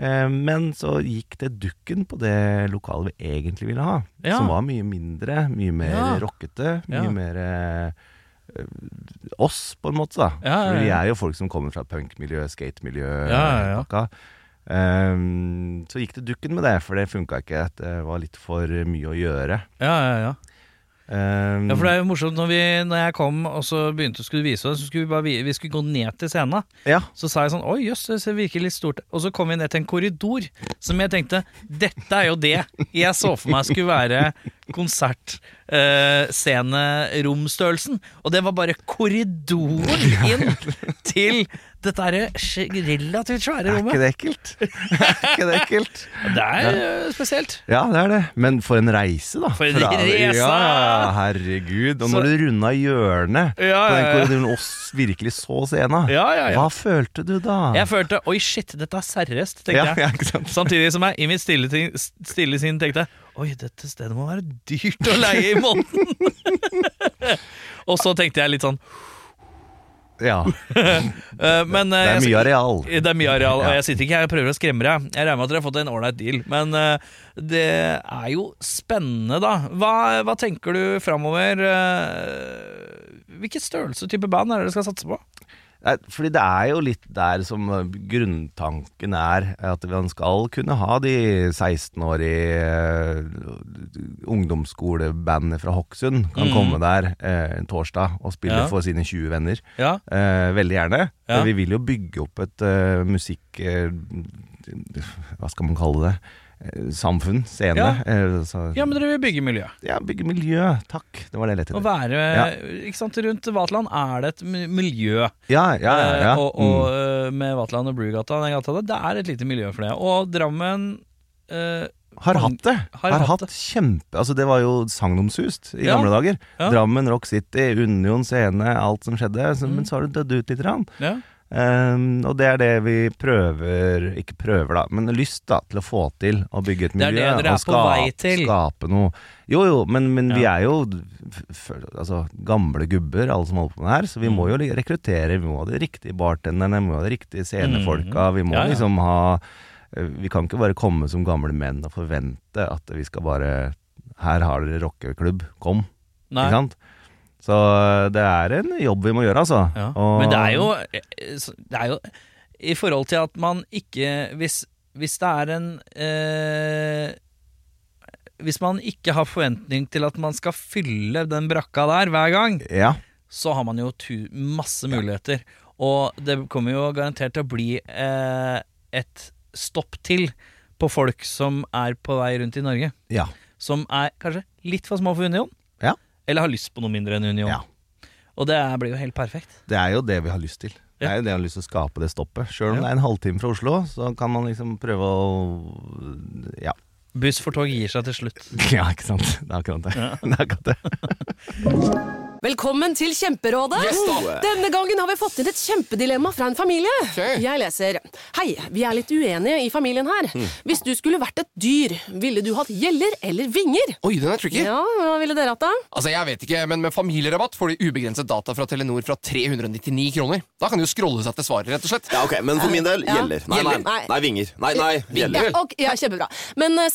S4: Eh, Men så gikk det dukken på det lokalet vi egentlig ville ha.
S3: Ja.
S4: Som var mye mindre, mye mer
S3: Ja.
S4: rockete, mye
S3: Ja.
S4: mer eh, oss, på en måte. da
S3: Ja, ja,
S4: For vi
S3: ja.
S4: er jo folk som kommer fra punkmiljø, skatemiljø
S3: Ja, ja, ja.
S4: pakka. Ehm, så gikk det dukken med det, for det funka ikke. Det var litt for mye å gjøre.
S3: ja, ja, ja.
S4: Ehm,
S3: Ja, for det er jo morsomt når, vi, når jeg kom og så begynte skulle vise oss, så skulle vi, bare, vi- vi skulle gå ned til scenen.
S4: ja.
S3: Så sa jeg sånn Oi, jøss, det ser virkelig litt stort Og så kom vi ned til en korridor som jeg tenkte Dette er jo det jeg så for meg skulle være konsertsceneromstørrelsen. og det var bare korridoren inn til dette her sj- relativt svære
S4: Er ikke
S3: rommet.
S4: det ekkelt? er ikke det ekkelt?
S3: Det er eh, spesielt.
S4: Ja, det er det. Men for en reise, da.
S3: For en
S4: Fra-
S3: reise!
S4: Ja, ja, herregud. Og
S3: Så-
S4: når du runda hjørnet
S3: Ja, ja,
S4: på den
S3: ja.
S4: korridoren og s- virkelig så scena,
S3: Ja, ja, ja.
S4: hva følte du da?
S3: Jeg følte Oi, shit, dette er seriøst, tenkte
S4: ja,
S3: jeg.
S4: ja, ikke sant?
S3: Samtidig som jeg i mitt stille, ting- stille sinn tenkte jeg, Oi, dette stedet må være dyrt å leie i måneden Og så tenkte jeg litt sånn
S4: Ja,
S3: eh, men,
S4: det er mye areal.
S3: det er mye areal, og
S4: Ja.
S3: jeg sitter ikke her og prøver å skremme deg. Jeg regner med at dere har fått en ålreit deal, men eh, det er jo spennende, da. Hva, hva tenker du framover? hvilken størrelse type band er det dere skal satse på?
S4: Nei, fordi det er jo litt der som eh, grunntanken er at man skal kunne ha de 16-årige eh, ungdomsskolebandene fra Hokksund kan komme der eh, en torsdag og spille
S3: Mm. Ja.
S4: for sine 20 venner.
S3: Ja,
S4: Eh, veldig gjerne.
S3: Ja.
S4: Eh, Vi vil jo bygge opp et eh, musikk... Eh, hva skal man kalle det? Eh, Samfunn, scene.
S3: Ja.
S4: Eh, så,
S3: ja men dere vil bygge miljø.
S4: ja, bygge miljø. Takk, det var det jeg lette
S3: Å
S4: etter.
S3: være ikke sant, Rundt Vaterland er det et mi- miljø.
S4: Ja, ja, ja, ja.
S3: Eh,
S4: Mm.
S3: Og, og eh, med Vaterland og Brugata, den gata der, det er et lite miljø for det. Og Drammen eh,
S4: Mm. Har hatt det.
S3: Har
S4: Har
S3: hatt
S4: hatt kjempe Altså, det var jo sagnomsust i
S3: Ja.
S4: gamle dager.
S3: Ja. Mm.
S4: Drammen, Rock City, Union scene, alt som skjedde. Så, Men så har det dødd ut lite grann.
S3: ja.
S4: Eh, Ehm, og det er det vi prøver, ikke prøver da, men lyst da, til å få til. Å bygge et
S3: Det er
S4: miljø
S3: det dere er
S4: og
S3: på vei
S4: skape-
S3: til.
S4: skape noe. Jo jo, men, men vi
S3: Ja.
S4: er jo f- f- altså, gamle gubber, alle som holder på med det her, så vi
S3: Mm.
S4: må jo rekruttere. Vi må ha de riktige bartenderne, vi må ha de riktige scenefolka. Vi
S3: Mm.
S4: må
S3: Ja, ja.
S4: liksom ha eh, Vi kan ikke bare komme som gamle menn og forvente at vi skal bare Her har dere rockeklubb, kom.
S3: Nei.
S4: Ikke sant? Så eh, det er en jobb vi må gjøre, altså.
S3: Ja.
S4: Og-
S3: Men det er jo eh, Det er jo i forhold til at man ikke Hvis, hvis det er en eh, Hvis man ikke har forventning til at man skal fylle den brakka der hver gang,
S4: Ja.
S3: så har man jo tu, masse muligheter. Og det kommer jo garantert til å bli eh, et stopp til på folk som er på vei rundt i Norge.
S4: Ja.
S3: Som er kanskje litt for små for Union,
S4: Ja.
S3: eller har lyst på noe mindre enn Union.
S4: Ja.
S3: Og det er- blir jo helt perfekt.
S4: Det er jo det vi har lyst til. Det er jo det vi har lyst til å skape det stoppet. Sjøl om det er en halvtime fra Oslo, så kan man liksom prøve å Ja.
S3: Buss for tog gir seg til slutt.
S4: Ja, ikke sant. Det er akkurat det. det, er akkurat det.
S5: Velkommen til Kjemperådet! Mm. Denne gangen har vi fått inn et kjempedilemma fra en familie.
S6: Ok.
S5: Jeg leser Hei, vi er litt uenige i familien her.
S6: Mm.
S5: Hvis du skulle vært et dyr, ville du hatt gjeller eller vinger?
S6: Oi, den er tricky.
S5: Ja, hva ville dere hatt da?
S6: Altså, jeg vet ikke, men Med familierabatt får de ubegrenset data fra Telenor fra 399 kroner. Da kan de jo scrolle seg til svaret, rett og slett.
S7: Ja, ok, Men for min del
S5: Ja.
S7: gjelder. Nei, nei,
S5: Gjelder? Nei.
S7: nei, vinger. Nei, nei,
S5: Ja,
S7: gjelder.
S5: ok, ja, kjempebra. Men eh,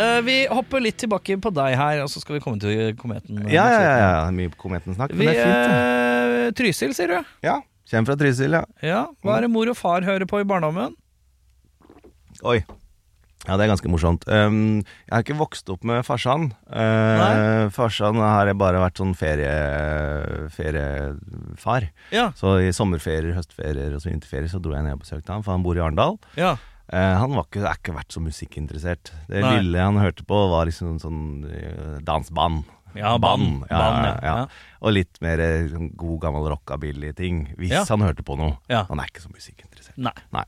S3: Eh, vi hopper litt tilbake på deg her, og så skal vi komme til kometen.
S4: Ja, ja, ja. ja. Mye Kometen-snakk,
S3: Vi,
S4: men det er fint.
S3: eh, Trysil, sier du?
S4: det. Ja. Kommer fra Trysil, ja.
S3: Ja. Hva er det mor og far hører på i barndommen?
S4: Oi. Ja, det er ganske morsomt. Um, jeg har ikke vokst opp med farsan. Uh, farsan har jeg bare vært sånn ferie, feriefar.
S3: Ja.
S4: Så i sommerferier, høstferier og så vinterferier så dro jeg ned og besøkte han, for han bor i Arendal.
S3: ja.
S4: Eh, han var ikke, er ikke vært så musikkinteressert. Det
S3: Nei.
S4: lille han hørte på, var liksom sånn eh, dansband.
S3: Ja, band. Band,
S4: Ja,
S3: ja,
S4: ja, ja.
S3: ja.
S4: Og litt mer eh, sånn god gammel rockabilly-ting. Hvis
S3: Ja.
S4: han hørte på noe.
S3: Ja.
S4: Han er ikke så musikkinteressert.
S3: Nei.
S4: Nei.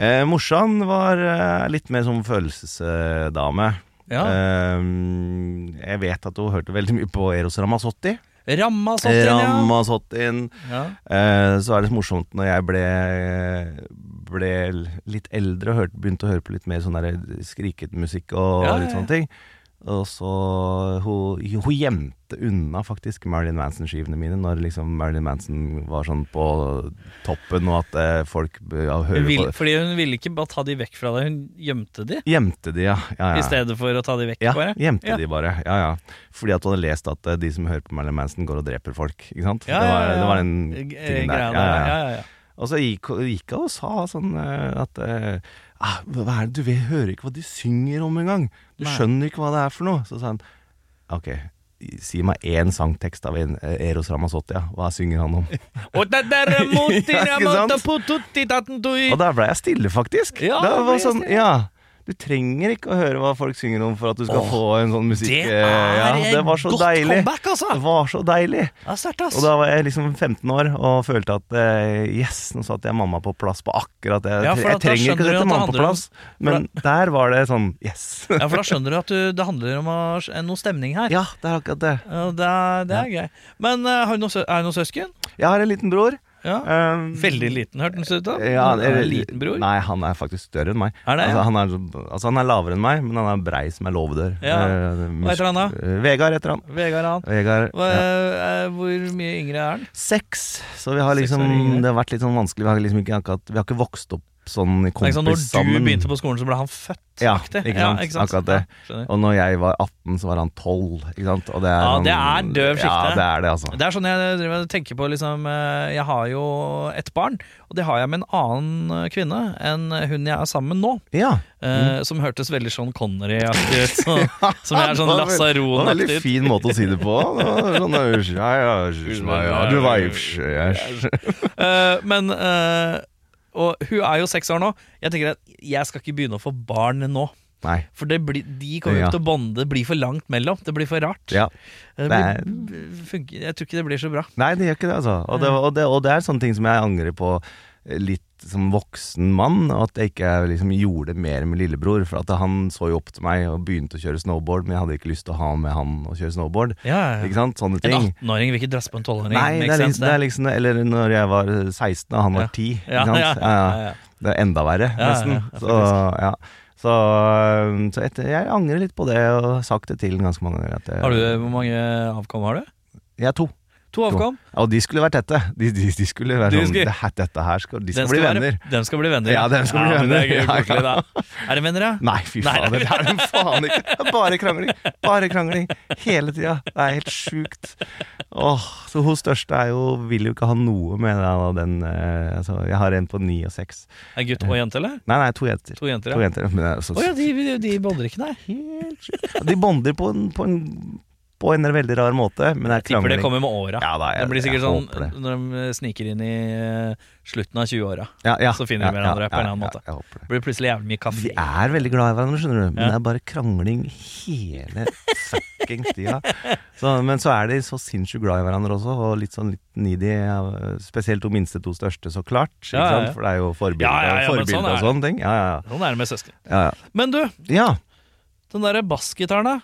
S4: Eh, morsan var eh, litt mer sånn følelsesdame.
S3: Ja.
S4: Eh, jeg vet at hun hørte veldig mye på Eros Ramazzotti.
S3: Ramma sånn til, ja.
S4: Ramazottin.
S3: ja.
S4: Eh, Så er det så morsomt når jeg ble, ble litt eldre og hørte, begynte å høre på litt mer sånn der skrikete musikk og
S3: Ja, ja,
S4: litt
S3: ja.
S4: sånne ting. Og så Hun, hun gjemte unna faktisk Marilyn Manson-skivene mine når liksom Marilyn Manson var sånn på toppen, og at eh, folk b- ja,
S3: Hun
S4: hører
S3: vil,
S4: på det.
S3: fordi hun ville ikke bare ta de vekk fra deg, hun gjemte de.
S4: Gjemte de, ja. ja,
S3: I
S4: ja.
S3: stedet for å ta de vekk,
S4: Ja,
S3: bare.
S4: gjemte
S3: Ja.
S4: de bare. Ja, ja. Fordi at du hadde lest at eh, de som hører på Marilyn Manson, går og dreper folk. Ikke sant?
S3: Ja,
S4: det, var,
S3: ja, ja.
S4: det var den
S3: G- eh,
S4: tingen der.
S3: greia der. Ja, ja, ja.
S4: Og så gikk, gikk hun og sa sånn eh, at eh, ah, Hva er det du vet, hører ikke hva de synger om engang? Du
S3: Nei.
S4: skjønner ikke hva det er for noe. Så sa han OK, si meg én sangtekst av en, eh, Eros Ramazzotti, ja. Hva synger han om?
S3: Og det der er mot din,
S4: Ja, ikke sant?
S3: mot på tutti, tatten, tui.
S4: Og da ble jeg stille, faktisk.
S3: Ja,
S4: da
S3: da ble
S4: var
S3: jeg
S4: sånn,
S3: stille.
S4: ja du trenger ikke å høre hva folk synger om for at du skal få en sånn musikk
S3: Det
S4: eh,
S3: er
S4: ja, det var så
S3: godt
S4: deilig.
S3: comeback, altså.
S4: Det var så deilig.
S3: Ja, sterkt, ass.
S4: Og da var jeg liksom 15 år og følte at eh, yes, nå satte jeg mamma på plass på akkurat det.
S3: Ja, for at
S4: jeg
S3: da
S4: trenger
S3: skjønner
S4: ikke å
S3: du at
S4: sette
S3: det
S4: mamma på
S3: handler om-
S4: plass, men der var det sånn yes.
S3: Ja, for da skjønner du at du, det handler om å- eh, noe stemning her.
S4: ja, det er akkurat det.
S3: Ja, det er, det er greit. Men eh, har du noe, sø- er det noen søsken?
S4: Jeg har en liten bror.
S3: Ja.
S4: Um,
S3: Veldig liten, hørtes det ut som.
S4: ja,
S3: Er det
S4: eller-
S3: en liten bror.
S4: Nei, han er faktisk større enn meg.
S3: Er det, ja?
S4: altså, han er, altså han er lavere enn meg, men han er brei som er låvedør.
S3: Ja.
S4: Eh, mus-
S3: Hva heter han da?
S4: Eh, Vegard heter han.
S3: Vegard han.
S4: Vegard,
S3: Hva,
S4: ja.
S3: eh, Hvor mye yngre er han?
S4: Seks. Så vi har
S3: Seks år
S4: liksom
S3: yngre.
S4: Det har vært litt sånn vanskelig. Vi har liksom ikke akkurat Vi har ikke vokst opp sånn
S3: Det
S4: i
S3: er
S4: kompis
S3: ikke sånn, når du
S4: sammen.
S3: begynte på skolen, så ble han født.
S4: Ja,
S3: aktig.
S4: ikke
S3: Ja,
S4: sant? Akkurat det.
S3: Ja, skjønner.
S4: Og når jeg var 18, så var han 12. Ikke sant? Og det er,
S3: Ja,
S4: sånn-
S3: det er døv skifte.
S4: Ja, det er det, altså.
S3: Det er sånn jeg driver og tenker på liksom, eh, Jeg har jo et barn, og det har jeg med en annen eh, kvinne enn hun jeg er sammen med nå.
S4: Ja.
S3: eh,
S4: Mm.
S3: Som hørtes veldig sånn Connery-aktig ut. så- Som jeg er sånn
S4: Det var veld- det var en
S3: lasaron-aktig.
S4: veldig fin måte å si det på. Det var Sånn, ja, ja, ja, ja, ja, du var jo-
S3: Eh, men eh, Og hun er jo seks år nå. Jeg tenker at jeg skal ikke begynne å få barn nå.
S4: Nei.
S3: For det blir, de kommer jo
S4: Ja.
S3: til å bonde. Det blir for langt mellom. Det blir for rart. Eh,
S4: Ja.
S3: Det
S4: det
S3: blir, funker, jeg tror ikke det blir så bra.
S4: Nei, det gjør ikke det, altså. Og det, og det, og det er sånne ting som jeg angrer på litt som voksen mann, og at jeg ikke liksom gjorde mer med lillebror. For at han så jo opp til meg og begynte å kjøre snowboard, men jeg hadde ikke lyst til å ha med han å kjøre snowboard.
S3: Ja, ja.
S4: Ikke sant? Sånne
S3: En
S4: ting.
S3: 18-åring vil ikke drasse på en 12-åring.
S4: Nei, det
S3: Makes
S4: er,
S3: sense,
S4: liksom, det er liksom Eller når jeg var 16 og han
S3: Ja.
S4: var 10. Ikke
S3: Ja,
S4: sant?
S3: ja,
S4: Ja,
S3: ja, ja.
S4: ja. Det er enda verre,
S3: ja,
S4: nesten.
S3: ja,
S4: Så, ja. Så, øhm, så etter, jeg angrer litt på det, og har sagt det til ganske mange ganger. At jeg,
S3: Har du, hvor mange avkom har du?
S4: Jeg er to.
S3: To avkom.
S4: Ja, og de skulle vært tette. De, de, de skulle være
S3: Du
S4: sånn
S3: skulle-
S4: det her, Dette her skal De skal,
S3: Den
S4: bli
S3: være-
S4: venner.
S3: Den skal bli venner.
S4: Ja, den skal bli
S3: men Det
S4: venner.
S3: er, gøy,
S4: Ja, ja.
S3: koselig, da. er det venner, ja?
S4: Nei, fy
S3: Nei,
S4: faen,
S3: nei.
S4: det er de faen ikke. Det er Bare krangling. Bare krangling. Hele tida. Det er helt sjukt. Åh, så hun største er jo Vil jo ikke ha noe med den, og den eh, altså, Jeg har en på ni og seks.
S3: Er gutt og jente, eller?
S4: Nei, nei, to jenter.
S3: To jenter,
S4: To
S3: ja.
S4: jenter. Men det er så,
S3: Å ja, de, de, de bonder ikke, nei.
S4: helt sjukt. De bonder på en, på en på en veldig rar måte, men det er
S3: Tipper
S4: krangling.
S3: det kommer med åra.
S4: Ja, da,
S3: det
S4: jeg-
S3: blir sikkert
S4: jeg
S3: sånn
S4: håper det.
S3: når de sniker inn i eh, slutten av 20-åra.
S4: Ja, ja,
S3: Så finner de hverandre på en eller annen måte.
S4: Ja, jeg håper det.
S3: Blir det plutselig jævlig mye
S4: De
S3: kaffe.
S4: er veldig glad i hverandre, skjønner du. Men
S3: Ja.
S4: det er bare krangling hele fuckings tida. Så, men så er de så sinnssykt glad i hverandre også, og litt sånn litt needy. ja, Spesielt de minste to største, så klart. Ikke
S3: Ja, ja, ja.
S4: sant? For det er jo forbilder,
S3: Ja, ja, ja, men
S4: forbilder
S3: sånn er
S4: og sånne ting. Ja, ja,
S3: Sånn er det med søsken.
S4: ja. ja,
S3: Men du,
S4: ja.
S3: den derre bassgitaren, da.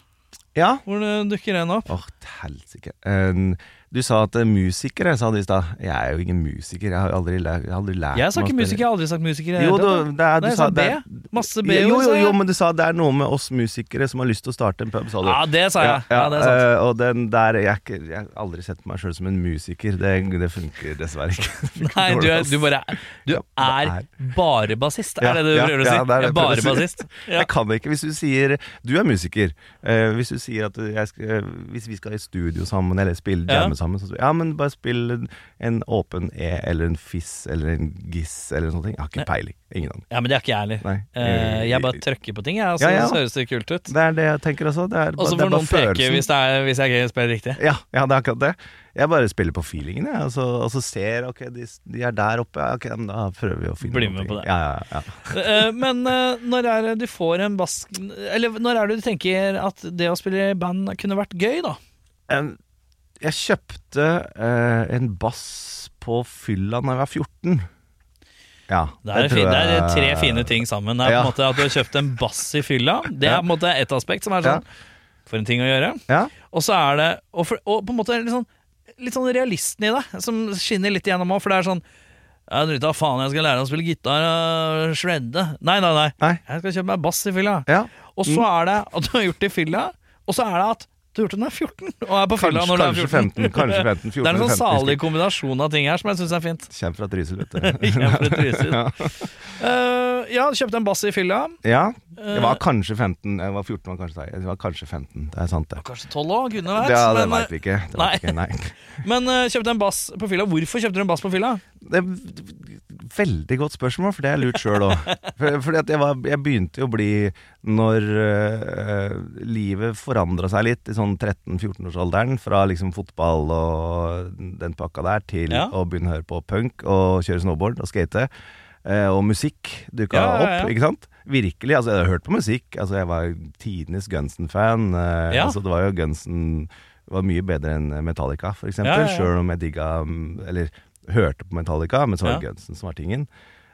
S4: ja. ja.
S3: Hvor eh, dukker den opp?
S4: Åh, til helsike. Eh, Du sa at eh, musikere, sa du i stad. Jeg er jo ingen musiker, jeg har jo aldri, lært- jeg har aldri lært
S3: Jeg sa ikke
S4: meg å spille.
S3: musiker, jeg har aldri sagt musiker. i det
S4: Jo,
S3: hele tatt,
S4: du, det er, du
S3: Nei, jeg
S4: sa
S3: sa
S4: det er-
S3: B. Masse B.
S4: Jo, jo,
S3: sa jeg.
S4: jo, men du sa det er noe med oss musikere som har lyst til å starte en pub, sa du.
S3: Ja, det sa jeg. Ja, det er sant.
S4: eh, og den der Jeg, er ikke, jeg har aldri sett meg sjøl som en musiker. Det, det funker dessverre ikke. Det funker
S3: Nei, du
S4: dårlig,
S3: er,
S4: ass.
S3: du bare, du
S4: Ja,
S3: er
S4: det
S3: bare bassist,
S4: Ja,
S3: er det det du
S4: ja,
S3: prøver å si?
S4: ja, det
S3: Jeg er
S4: er det jeg prøver å
S3: bare
S4: si.
S3: bassist. Ja.
S4: Jeg kan ikke hvis du sier Du er musiker. Eh, hvis du sier at jeg skal, eh, hvis vi skal i studio sammen eller spille
S3: Ja.
S4: jamme sammen, så sier jeg, ja, men bare spill en- en åpen E eller en fiss eller en giss eller noe sånt. Jeg har ikke peiling. Ingen aning.
S3: ja, men det er ikke jeg heller.
S4: Nei.
S3: Eh, Jeg bare trykker på ting, jeg, og så
S4: Ja, ja.
S3: så høres det kult ut.
S4: Det er det jeg tenker også. Det er,
S3: Og så får
S4: det er bare
S3: noen peke
S4: følelsen.
S3: hvis, det er, hvis jeg ikke spiller riktig.
S4: Ja, ja, det er akkurat det. Jeg bare spiller på feelingen, jeg. Og så, og så ser ok, de, de er der oppe. Ja, ok, men da prøver vi å finne
S3: Bli
S4: noen
S3: med
S4: ting.
S3: på det.
S4: Ja, ja, ja.
S3: Eh, Men eh, når er det du får en bass... Eller når er det du tenker at det å spille i band kunne vært gøy, da?
S4: En, jeg kjøpte eh, en bass på fylla da jeg var 14. Ja,
S3: Det er, fin,
S4: tror
S3: det er
S4: jeg-
S3: tre fine ting sammen. Det er på
S4: Ja.
S3: en måte At du har kjøpt en bass i fylla, det er
S4: Ja.
S3: på en måte et aspekt som er
S4: Ja.
S3: sånn For en ting å gjøre.
S4: Ja,
S3: Og så er det Og, for, og på en måte er det litt sånn, litt sånn realisten i deg som skinner litt igjennom òg, for det er sånn jeg driter av faen, jeg skal lære å spille gitar og shredde. Nei, nei, nei.
S4: Nei.
S3: Jeg skal kjøpe meg bass i fylla.
S4: ja. Mm.
S3: Og så er det at du har gjort det i fylla, og så er det at du har gjort det når du er 14. Og er på fylla
S4: Kanskje,
S3: når du er 14.
S4: kanskje 15, kanskje 15, 14
S3: det er en sånn
S4: 15, husker
S3: salig
S4: ikke.
S3: kombinasjon av ting her som jeg syns er fint.
S4: Kjem fra Trysil, vet du.
S3: Jeg er fra Trysil. Eh, ja, kjøpte en bass i fylla.
S4: Ja, jeg
S3: Eh.
S4: var kanskje 15. Jeg var 14, var kanskje, jeg var kanskje 15. Det er sant, det.
S3: Kanskje tolv òg, kunne vært.
S4: Det, det
S3: men, eh,
S4: veit vi ikke. Det vet vi ikke. Nei.
S3: men eh, kjøpte en bass på fylla. Hvorfor kjøpte du en bass på fylla?
S4: Det er veldig godt spørsmål, for det har jeg lurt sjøl òg. For, fordi at jeg, var, jeg begynte jo å bli Når øh, livet forandra seg litt i sånn 13-14-årsalderen, fra liksom fotball og den pakka der, til
S3: Ja.
S4: å begynne å høre på punk og kjøre snowboard og skate. eh, og musikk dukka
S3: Ja, ja, ja.
S4: opp, ikke sant? Virkelig. altså Jeg har hørt på musikk. altså Jeg var tidenes Gunsen-fan. eh,
S3: Ja.
S4: altså Det var jo Gunsen var mye bedre enn Metallica, for eksempel.
S3: Ja, ja, ja.
S4: Sjøl om jeg digga mm, Eller hørte på Metallica, men så var det
S3: Ja.
S4: Gunsen som var tingen.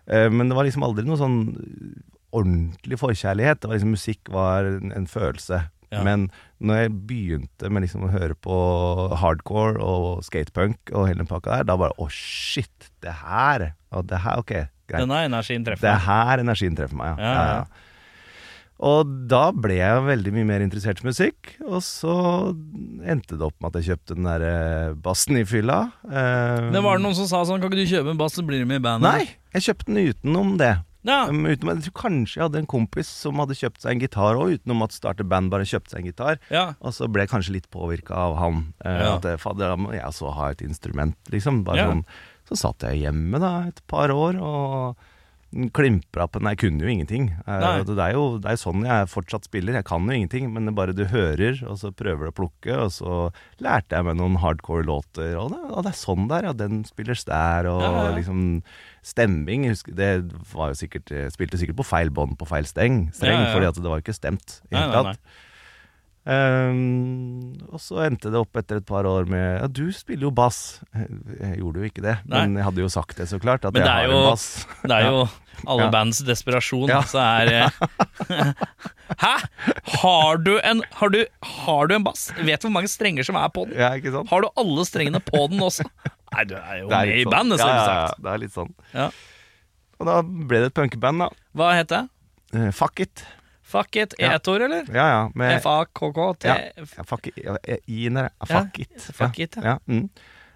S4: Eh, Men det var liksom aldri noe sånn ordentlig forkjærlighet. Det var liksom Musikk var en, en følelse.
S3: Ja.
S4: Men når jeg begynte med liksom å høre på hardcore og skatepunk og hele den pakka der, da bare Å, shit! Det her! Og det her, ok, greit.
S3: Denne energien treffer.
S4: Det er her energien treffer meg, ja.
S3: Ja, ja,
S4: ja,
S3: ja.
S4: ja. Og da ble jeg veldig mye mer interessert i musikk, og så endte det opp med at jeg kjøpte den der eh, bassen i fylla. Eh,
S3: Men var det noen som sa sånn, kan ikke du kjøpe en bass, så blir du med i bandet?
S4: Nei, jeg kjøpte den utenom det.
S3: Ja.
S4: Um, utenom, jeg tror kanskje jeg hadde en kompis som hadde kjøpt seg en gitar òg, utenom at starte band bare kjøpte seg en gitar.
S3: ja.
S4: Og så ble jeg kanskje litt påvirka av han. Eh,
S3: Ja.
S4: At eh, fader, da må jeg også ha et instrument, liksom. Bare
S3: Ja.
S4: sånn. Så satt jeg hjemme da et par år og klimpra på Nei, jeg kunne jo ingenting. Eh,
S3: Nei.
S4: og Det, er jo, det er jo sånn jeg fortsatt spiller. Jeg kan jo ingenting, men det er bare du hører, og så prøver du å plukke, og så lærte jeg meg noen hardcore låter. Og det, og det er sånn der, ja. Den spilles der, og
S3: Ja, ja, ja.
S4: liksom Stemming jeg husker, Det var jo sikkert eh, Spilte sikkert på feil bånd på feil streng, streng
S3: Ja, ja, ja.
S4: fordi at det var jo ikke stemt i det
S3: Nei,
S4: hele
S3: nei,
S4: tatt. Ehm, og så endte det opp etter et par år med Ja, du spiller jo bass. Jeg gjorde jo ikke det,
S3: Nei.
S4: men jeg hadde jo sagt det så klart. At
S3: Men
S4: jeg
S3: det er
S4: har
S3: jo-
S4: en bass.
S3: Det er jo alle
S4: Ja.
S3: bands desperasjon.
S4: Ja.
S3: Så er eh, Hæ? Har du, en, har, du, har du en bass? Vet du hvor mange strenger som er på den?
S4: Ja, ikke sant?
S3: Har du alle strengene på den også? Nei, du er jo
S4: Det er
S3: med
S4: litt
S3: i
S4: sånn.
S3: bandet, så
S4: ja,
S3: ville
S4: ja,
S3: sagt.
S4: ja, det er litt sånn.
S3: Ja.
S4: Og da ble det et punkeband, da.
S3: Hva het det?
S4: Eh, fuck it.
S3: Fuck it.
S4: Ja.
S3: E-tor, eller?
S4: Ja, ja. Med,
S3: F-A-K-K-T
S4: ja, ja, fuck it. Ja, I-en der. ja, Fuck
S3: Ja,
S4: it.
S3: fuck it, ja.
S4: ja. mm.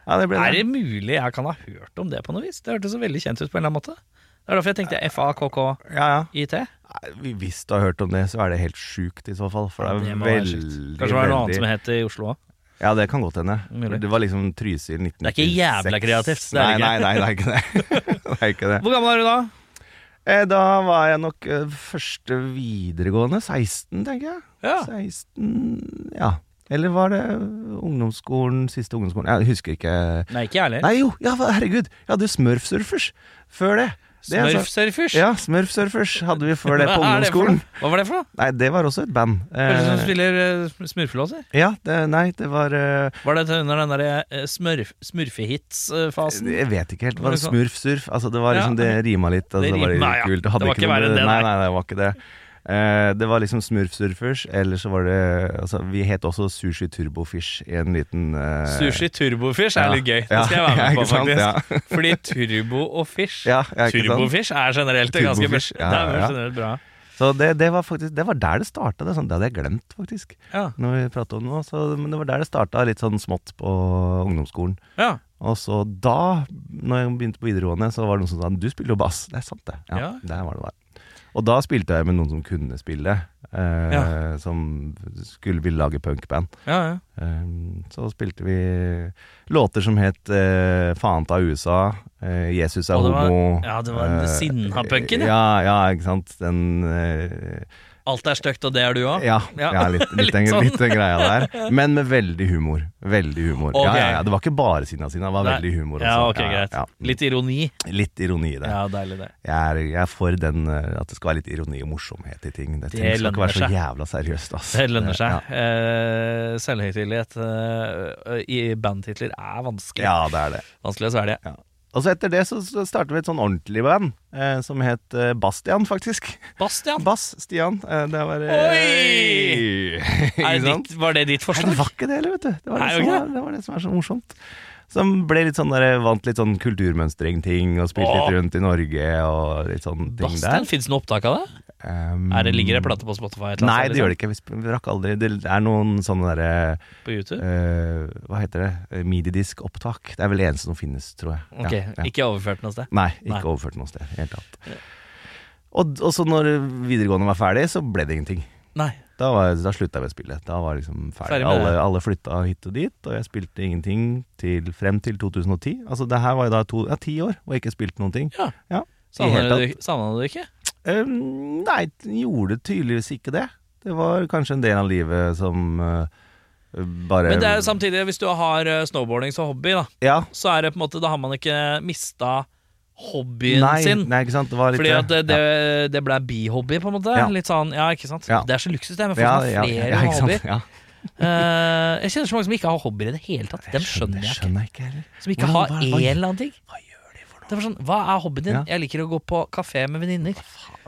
S4: ja det ble
S3: Er
S4: det.
S3: det mulig jeg kan ha hørt om det på noe vis? Det hørtes så veldig kjent ut på en eller annen måte. Det er derfor jeg tenkte F-A-K-K-I-T.
S4: Ja, ja. Nei, Hvis du har hørt om det, så er det helt sjukt i så fall. For det er
S3: Det må være
S4: veldig,
S3: sjukt. Kanskje det var noe annet
S4: veldig-
S3: som het det i Oslo òg.
S4: Ja, det kan godt hende.
S3: Mulig.
S4: Det var liksom Trysil
S3: Det
S4: 1996.
S3: er ikke jævla kreativt, det er det
S4: nei,
S3: ikke.
S4: nei, nei, det er ikke det. det, er ikke det.
S3: Hvor gammel er du da?
S4: Eh, Da var jeg nok eh, første videregående 16, tenker jeg.
S3: Ja.
S4: 16, ja. Eller var det ungdomsskolen, siste ungdomsskolen? Jeg husker ikke.
S3: Nei, ikke jeg heller.
S4: Nei jo, ja, hva- herregud. Jeg hadde jo Smurfsurfers før det. Det er så-
S3: Smurfsurfers.
S4: Ja, Smurfsurfers hadde vi før det på
S3: Hva er det for
S4: ungdomsskolen.
S3: noe? Hva var det for noe?
S4: Nei, det var også et band.
S3: Hørtes ut som du
S4: Eh,
S3: spiller eh, smurfelåser.
S4: ja, det, nei, det var eh,
S3: Var det under den derre eh, smørf, smurfehits-fasen?
S4: Jeg vet ikke helt.
S3: Altså, Var
S4: Det var
S3: det sånn?
S4: smurfsurf. Altså, det, var liksom, det rima litt. Altså,
S3: Det
S4: det, var
S3: rima, ja.
S4: litt
S3: Det
S4: kult. Det, hadde
S3: var
S4: ikke
S3: ikke
S4: noe,
S3: verre enn det,
S4: nei,
S3: nei.
S4: nei, det var ikke det. Eh, det var liksom smurfsurfers, eller så var det altså, Vi het også Sushi Turbofish i en liten eh,
S3: Sushi turbofish er
S4: ja.
S3: litt gøy. Det
S4: Ja,
S3: skal jeg være med
S4: ja,
S3: på,
S4: ikke sant?
S3: faktisk.
S4: Ja.
S3: Fordi turbo og fish
S4: Ja, ja, ikke sant?
S3: Turbofish er generelt et ganske
S4: Turbofish,
S3: bra.
S4: ja,
S3: Det er vel
S4: ja.
S3: generelt bra.
S4: Så det, det var faktisk Det var der det starta. Det, er sånn, det hadde jeg glemt, faktisk.
S3: Ja.
S4: Når vi prater om det nå så, Men det var der det starta, litt sånn smått på ungdomsskolen.
S3: Ja.
S4: Og så da, når jeg begynte på videregående, så var det noen som sa Du spiller jo bass. Det er sant, det. Ja,
S3: Ja.
S4: Der var det der. Og da spilte jeg med noen som kunne spille. Eh,
S3: Ja.
S4: Som skulle ville lage punkband.
S3: ja, ja.
S4: Eh, så spilte vi låter som het eh, Faen ta USA, eh, Jesus er
S3: Og det var-
S4: homo
S3: ja, det var den
S4: eh,
S3: sinna-punken, ja.
S4: ja. Ja, ikke sant. Den eh,
S3: Alt er stygt, og det er du òg?
S4: ja,
S3: Ja.
S4: ja. litt, litt,
S3: Litt
S4: den,
S3: sånn.
S4: litt den greia der. Men med veldig humor. Veldig humor.
S3: Ok.
S4: Ja, ja, ja, det var ikke bare sinna sina, det var veldig humor også.
S3: Ja, ok, greit.
S4: Ja, ja.
S3: Litt ironi.
S4: Litt ironi i det.
S3: Ja, deilig det.
S4: Jeg, er, jeg er for den eh, at det skal være litt ironi og morsomhet i ting.
S3: Det
S4: Det, ting skal
S3: lønner
S4: ikke være så
S3: seg.
S4: jævla seriøst. Ass.
S3: Det lønner seg.
S4: Ja.
S3: Eh, Selvhøytidelighet eh, i bandtitler er vanskelig.
S4: ja, det er det.
S3: Vanskelig å svelge.
S4: Ja. Og så etter det så, så startet vi et sånn ordentlig band eh, som het eh, Bastian, faktisk.
S3: Bastian,
S4: Bass Stian. Eh, det var eh,
S3: Oi!
S4: Ikke
S3: er det
S4: sant?
S3: ditt, var det ditt
S4: Nei,
S3: forslag?
S4: det var ikke det heller, vet du. Det var det,
S3: Nei,
S4: som,
S3: ok.
S4: var, det var det som er så morsomt. Som ble litt sånn der, vant litt sånn kulturmønstring-ting, og spilte
S3: Åh.
S4: litt rundt i Norge og litt sånn ting
S3: Bastian,
S4: der.
S3: Fins det noe opptak av det?
S4: Um,
S3: Er det, ligger det plate på Spotify? et eller
S4: Nei,
S3: annet
S4: det
S3: sted,
S4: gjør det ikke. Vi sp- Vi rakk aldri Det er noen sånne derre
S3: liksom? På YouTube?
S4: eh, Hva heter det? Eh, Mididisk-opptak. Det er vel det eneste som finnes, tror jeg.
S3: Ok,
S4: Ja, ja.
S3: Ikke overført noe sted?
S4: Nei,
S3: Nei.
S4: ikke overført noe sted. i Helt annet. Og, og så når videregående var ferdig, så ble det ingenting.
S3: Nei.
S4: Da, var, da slutta jeg med spillet. Da var jeg liksom ferdig.
S3: Ferdig med det.
S4: alle, alle flytta hit og dit, og jeg spilte ingenting til, frem til 2010. Altså det her var jo da to, ja, ti år og ikke spilt noen ting.
S3: Ja.
S4: Ja, i
S3: Savna
S4: hele
S3: du,
S4: tatt.
S3: savner du det ikke?
S4: Um, nei, gjorde tydeligvis ikke det. Det var kanskje en del av livet som eh, bare
S3: Men det er jo samtidig, hvis du har eh, snowboarding som hobby, da,
S4: Ja.
S3: så er det på en måte Da har man ikke mista hobbyen
S4: Nei,
S3: sin.
S4: nei, ikke sant. Det var litt
S3: Fordi at det, det,
S4: ja.
S3: det ble bihobby, på en måte.
S4: Ja.
S3: Litt sånn, ja, ikke sant?
S4: Ja.
S3: Det er så luksus, det, med folk
S4: ja,
S3: som
S4: ja,
S3: har flere
S4: ja, ikke sant?
S3: hobbyer.
S4: Ja.
S3: Eh, jeg kjenner så mange som ikke har hobbyer i det hele tatt. Dem skjønner jeg ikke.
S4: skjønner jeg ikke heller.
S3: Som ikke har
S4: Hvordan- hva-
S3: en
S4: hva-
S3: eller annen ting. Hva gjør de for noe? Det er bare sånn, Hva er hobbyen din?
S4: Ja.
S3: Jeg liker å gå på kafé med venninner.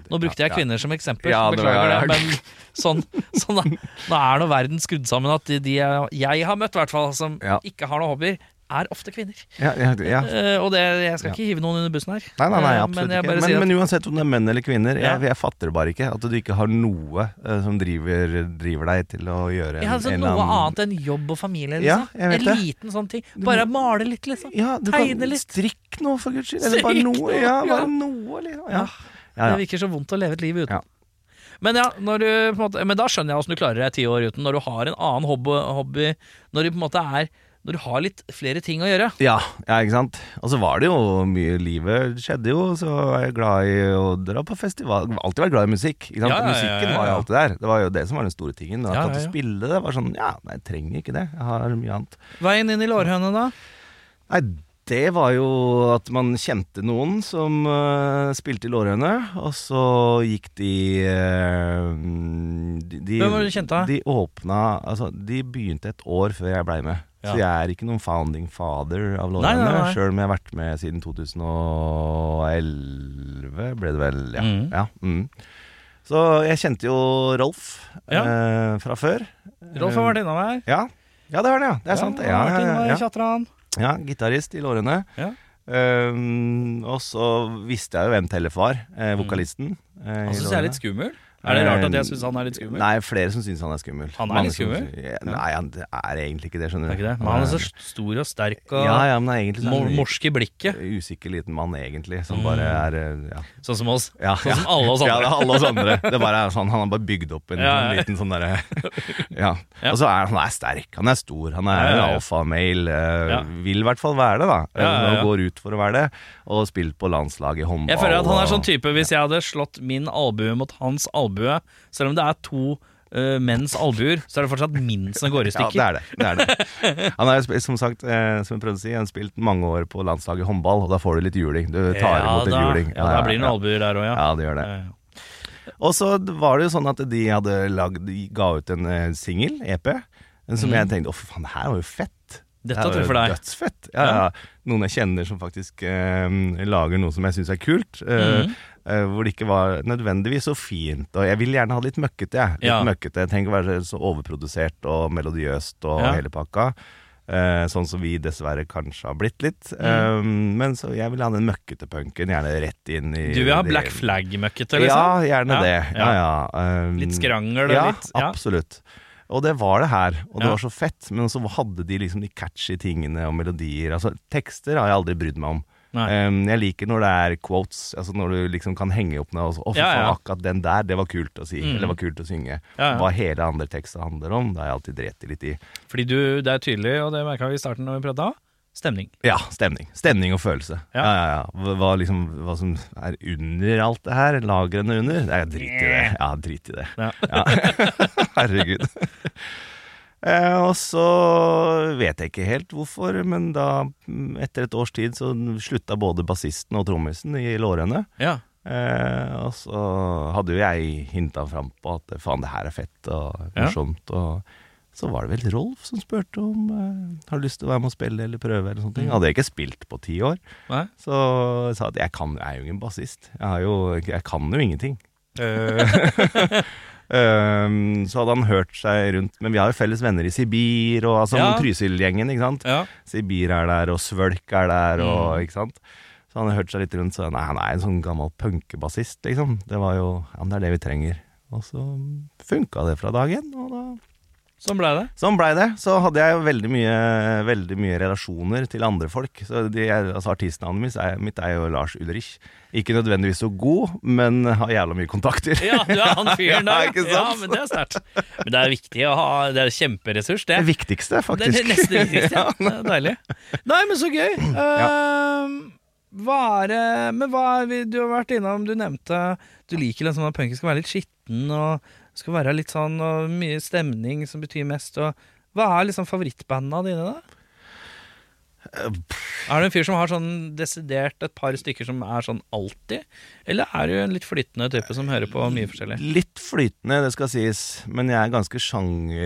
S3: Nå brukte jeg
S4: Ja, ja.
S3: kvinner som eksempel,
S4: Ja, det var-
S3: beklager
S4: ja,
S3: det, men sånn, sånn er- Nå er nå verden skrudd sammen at de, de jeg, jeg har møtt, i hvert fall, som
S4: Ja.
S3: ikke har noen hobbyer, er ofte kvinner.
S4: Ja, ja, ja.
S3: Eh, og det, jeg skal ikke hive noen under bussen her.
S4: Nei, nei, nei,
S3: Eh,
S4: absolutt
S3: men jeg
S4: ikke.
S3: bare
S4: Men,
S3: sier at
S4: men uansett om det er menn eller kvinner,
S3: Ja.
S4: jeg, jeg fatter bare ikke at du ikke har noe eh, som driver, driver deg til å gjøre
S3: jeg har sånn noe annet enn jobb og familie.
S4: Ja,
S3: Liksom.
S4: jeg vet
S3: en
S4: det.
S3: liten sånn ting. Bare male litt, liksom.
S4: Ja, du
S3: Tegne
S4: kan
S3: litt.
S4: strikke noe, for guds skyld. Eller bare
S3: Strikk
S4: noe.
S3: noe,
S4: Ja,
S3: ja.
S4: bare noe, liksom. Ja.
S3: Det
S4: Ja, ja.
S3: virker så vondt å leve et liv uten.
S4: Ja.
S3: Men, ja, når du, på en måte, men da skjønner jeg åssen du klarer deg ti år uten, når du har en annen hobby, hobby når du på en måte er når du har litt flere ting å gjøre.
S4: Ja, ja, ikke sant. Og så var det jo mye Livet skjedde jo, så var jeg glad i å dra på festival. Alltid vært glad i musikk. Ikke sant?
S3: Ja, ja, ja,
S4: Musikken
S3: ja, ja.
S4: var jo alltid der. Det var jo det som var den store tingen. At
S3: Ja,
S4: at
S3: ja,
S4: du
S3: ja.
S4: spille det var sånn Ja, nei, jeg trenger ikke det. Jeg har mye annet.
S3: Veien inn i lårhøna, da?
S4: Nei, det var jo at man kjente noen som eh, spilte i Lårhøne, og så gikk de eh, de, de-
S3: Hvem var det du kjente da?
S4: De åpna Altså, de begynte et år før jeg blei med.
S3: Ja.
S4: Så jeg er ikke noen founding father av
S3: Nei, nei,
S4: Lårhøne,
S3: nei.
S4: sjøl om jeg har vært med siden 2011, ble det vel. Ja.
S3: Mm.
S4: ja mm. Så jeg kjente jo Rolf
S3: Ja.
S4: eh, fra før.
S3: Rolf har vært innom her.
S4: Ja. ja, det var det, ja. Det er sant. det. Ja,
S3: han har vært
S4: ja,
S3: innom
S4: ja,
S3: her,
S4: ja.
S3: tjatter han.
S4: Ja, gitarist i lårene.
S3: Ja.
S4: Ehm, og så visste jeg jo hvem Tellef var, eh, vokalisten. eh, i
S3: Mm. Han syns jeg er
S4: Lårene. Ehm,
S3: litt skummel. Er det rart at jeg syns han er litt skummel?
S4: Nei, flere som syns han er skummel.
S3: Han er
S4: Mange
S3: litt
S4: som-
S3: skummel?
S4: Ja, nei, han det er egentlig ikke det, skjønner
S3: Det
S4: du. Ehm,
S3: er ikke det. Men han er så stor og sterk og
S4: ja, ja, men han er egentlig
S3: mor-
S4: sånn
S3: morsk Mm. i blikket,
S4: usikker liten mann, egentlig, som bare er eh, Ja.
S3: sånn som oss.
S4: Ja,
S3: Sånn som alle oss
S4: Ja,
S3: andre.
S4: det er alle oss andre. Det er bare sånn, han har bare bygd opp en
S3: Ja, ja.
S4: liten sånn derre ja.
S3: Ja.
S4: Og så er han er sterk, han er stor, han er
S3: Ja, ja, ja.
S4: alfamail. eh,
S3: Ja, ja.
S4: Vil i hvert fall være det, da.
S3: Ja, ja, ja.
S4: Og går ut for å være det. Og spilt på landslaget i håndball.
S3: Jeg føler at han er sånn
S4: og-
S3: type Hvis jeg hadde slått min albue mot hans albue Selv om det er to eh, menns albuer Så er det fortsatt min som går i
S4: Ja,
S3: stykker
S4: det er det. det, er det. Han har jo sp- som sagt, eh, som jeg prøvde å si, han har spilt mange år på landslaget i håndball, og da får du litt juling. Du tar imot en
S3: da,
S4: juling.
S3: ja, da blir det noen albuer der også, ja, Eh,
S4: Ja, det gjør det. Og så var det jo sånn at de hadde lagd, de ga ut en eh, singel, EP, som jeg tenkte å, for faen, det her var jo fett.
S3: Mhm. Dette
S4: her var jo
S3: treffer deg.
S4: Dødsfett. Ja, ja. Noen jeg kjenner som faktisk eh, lager noe som jeg syns er kult. eh,
S3: Mhm.
S4: eh, hvor det ikke var nødvendigvis så fint. Og jeg vil gjerne ha det litt møkkete. jeg. Litt
S3: Ja.
S4: møkkete. Jeg tenker å være så overprodusert og melodiøst og
S3: Ja.
S4: hele pakka. eh, sånn som vi dessverre kanskje har blitt litt.
S3: Mhm.
S4: Eh, men så jeg vil ha den møkkete punken, gjerne rett inn i
S3: Du vil ha
S4: det-
S3: black flag-møkkete liksom
S4: ja, gjerne
S3: Ja,
S4: det. Ja, ja. Um,
S3: Litt skrangel og
S4: ja,
S3: litt- ja.
S4: absolutt. Og det var det her, og det
S3: Ja.
S4: var så fett. Men så hadde de liksom de catchy tingene og melodier. Altså, tekster har jeg aldri brydd meg om.
S3: Nei.
S4: Um, jeg liker når det er quotes, altså når du liksom kan henge opp noe og så, Å, fy
S3: Ja,
S4: faen,
S3: ja.
S4: akkurat den der, det var kult å si.
S3: Mm.
S4: Eller det var kult å synge.
S3: Ja, ja.
S4: Hva hele andre tekster handler om, det har jeg alltid drept litt i.
S3: Fordi du, det er tydelig, og det merket vi i starten når vi pratet Stemning
S4: Ja, stemning. Stemning og følelse.
S3: Ja.
S4: Ja, ja, ja. Hva, hva liksom, hva som er under alt det her, lagrene under. Det er drit i det. Ja, drit i det.
S3: Ja.
S4: Ja. Herregud. Eh, og så vet jeg ikke helt hvorfor, men da, mm, etter et års tid, så slutta både bassisten og trommisen i lårene.
S3: Ja,
S4: Eh, og så hadde jo jeg hinta fram på at faen, det her er fett og
S3: Ja.
S4: morsomt. Og så var det vel Rolf som spurte om eh, har du lyst til å være med og spille eller prøve. eller
S3: Mm.
S4: sånne ting Hadde jeg ikke spilt på ti år.
S3: nei
S4: Så jeg sa at jeg, kan, jeg er jo ingen bassist. Jeg, har jo, jeg kan jo ingenting. Eh, ehm, så hadde han hørt seg rundt Men vi har jo felles venner i Sibir og altså
S3: Ja.
S4: Trysil-gjengen, ikke sant.
S3: Ja,
S4: Sibir er der, og Svølk er der,
S3: Mm.
S4: og, ikke sant? Så han har hørt seg litt rundt, så nei, han er en sånn gammel punkebassist, liksom. Det var jo, ja, men det er det vi trenger. Og så funka det fra dag én, og da
S3: sånn ble det
S4: Sånn blei det. Så hadde jeg jo veldig mye, veldig mye relasjoner til andre folk. Så de, altså Artistnavnet mitt er, mitt er jo Lars Ulrich. Ikke nødvendigvis så god, men har jævla mye kontakter.
S3: Ja, du er han fyren
S4: Ja,
S3: der
S4: ikke sant?
S3: Ja, men det er sterkt Men det er viktig å ha, det er kjemperessurs det
S4: Det viktigste,
S3: Det er
S4: faktisk.
S3: det neste viktigste, ja. Det er Deilig. Nei, men så gøy. Ehm, hva er det Men hva er vi, du har vært innom Du nevnte du liker liksom at punken skal være litt skitten og skal være litt sånn og mye stemning som betyr mest. Og hva er liksom favorittbanda dine, da? Er du en fyr som har sånn desidert et par stykker som er sånn alltid? Eller er du en litt flytende type som hører på mye forskjellig?
S4: Litt flytende, det skal sies, men jeg er ganske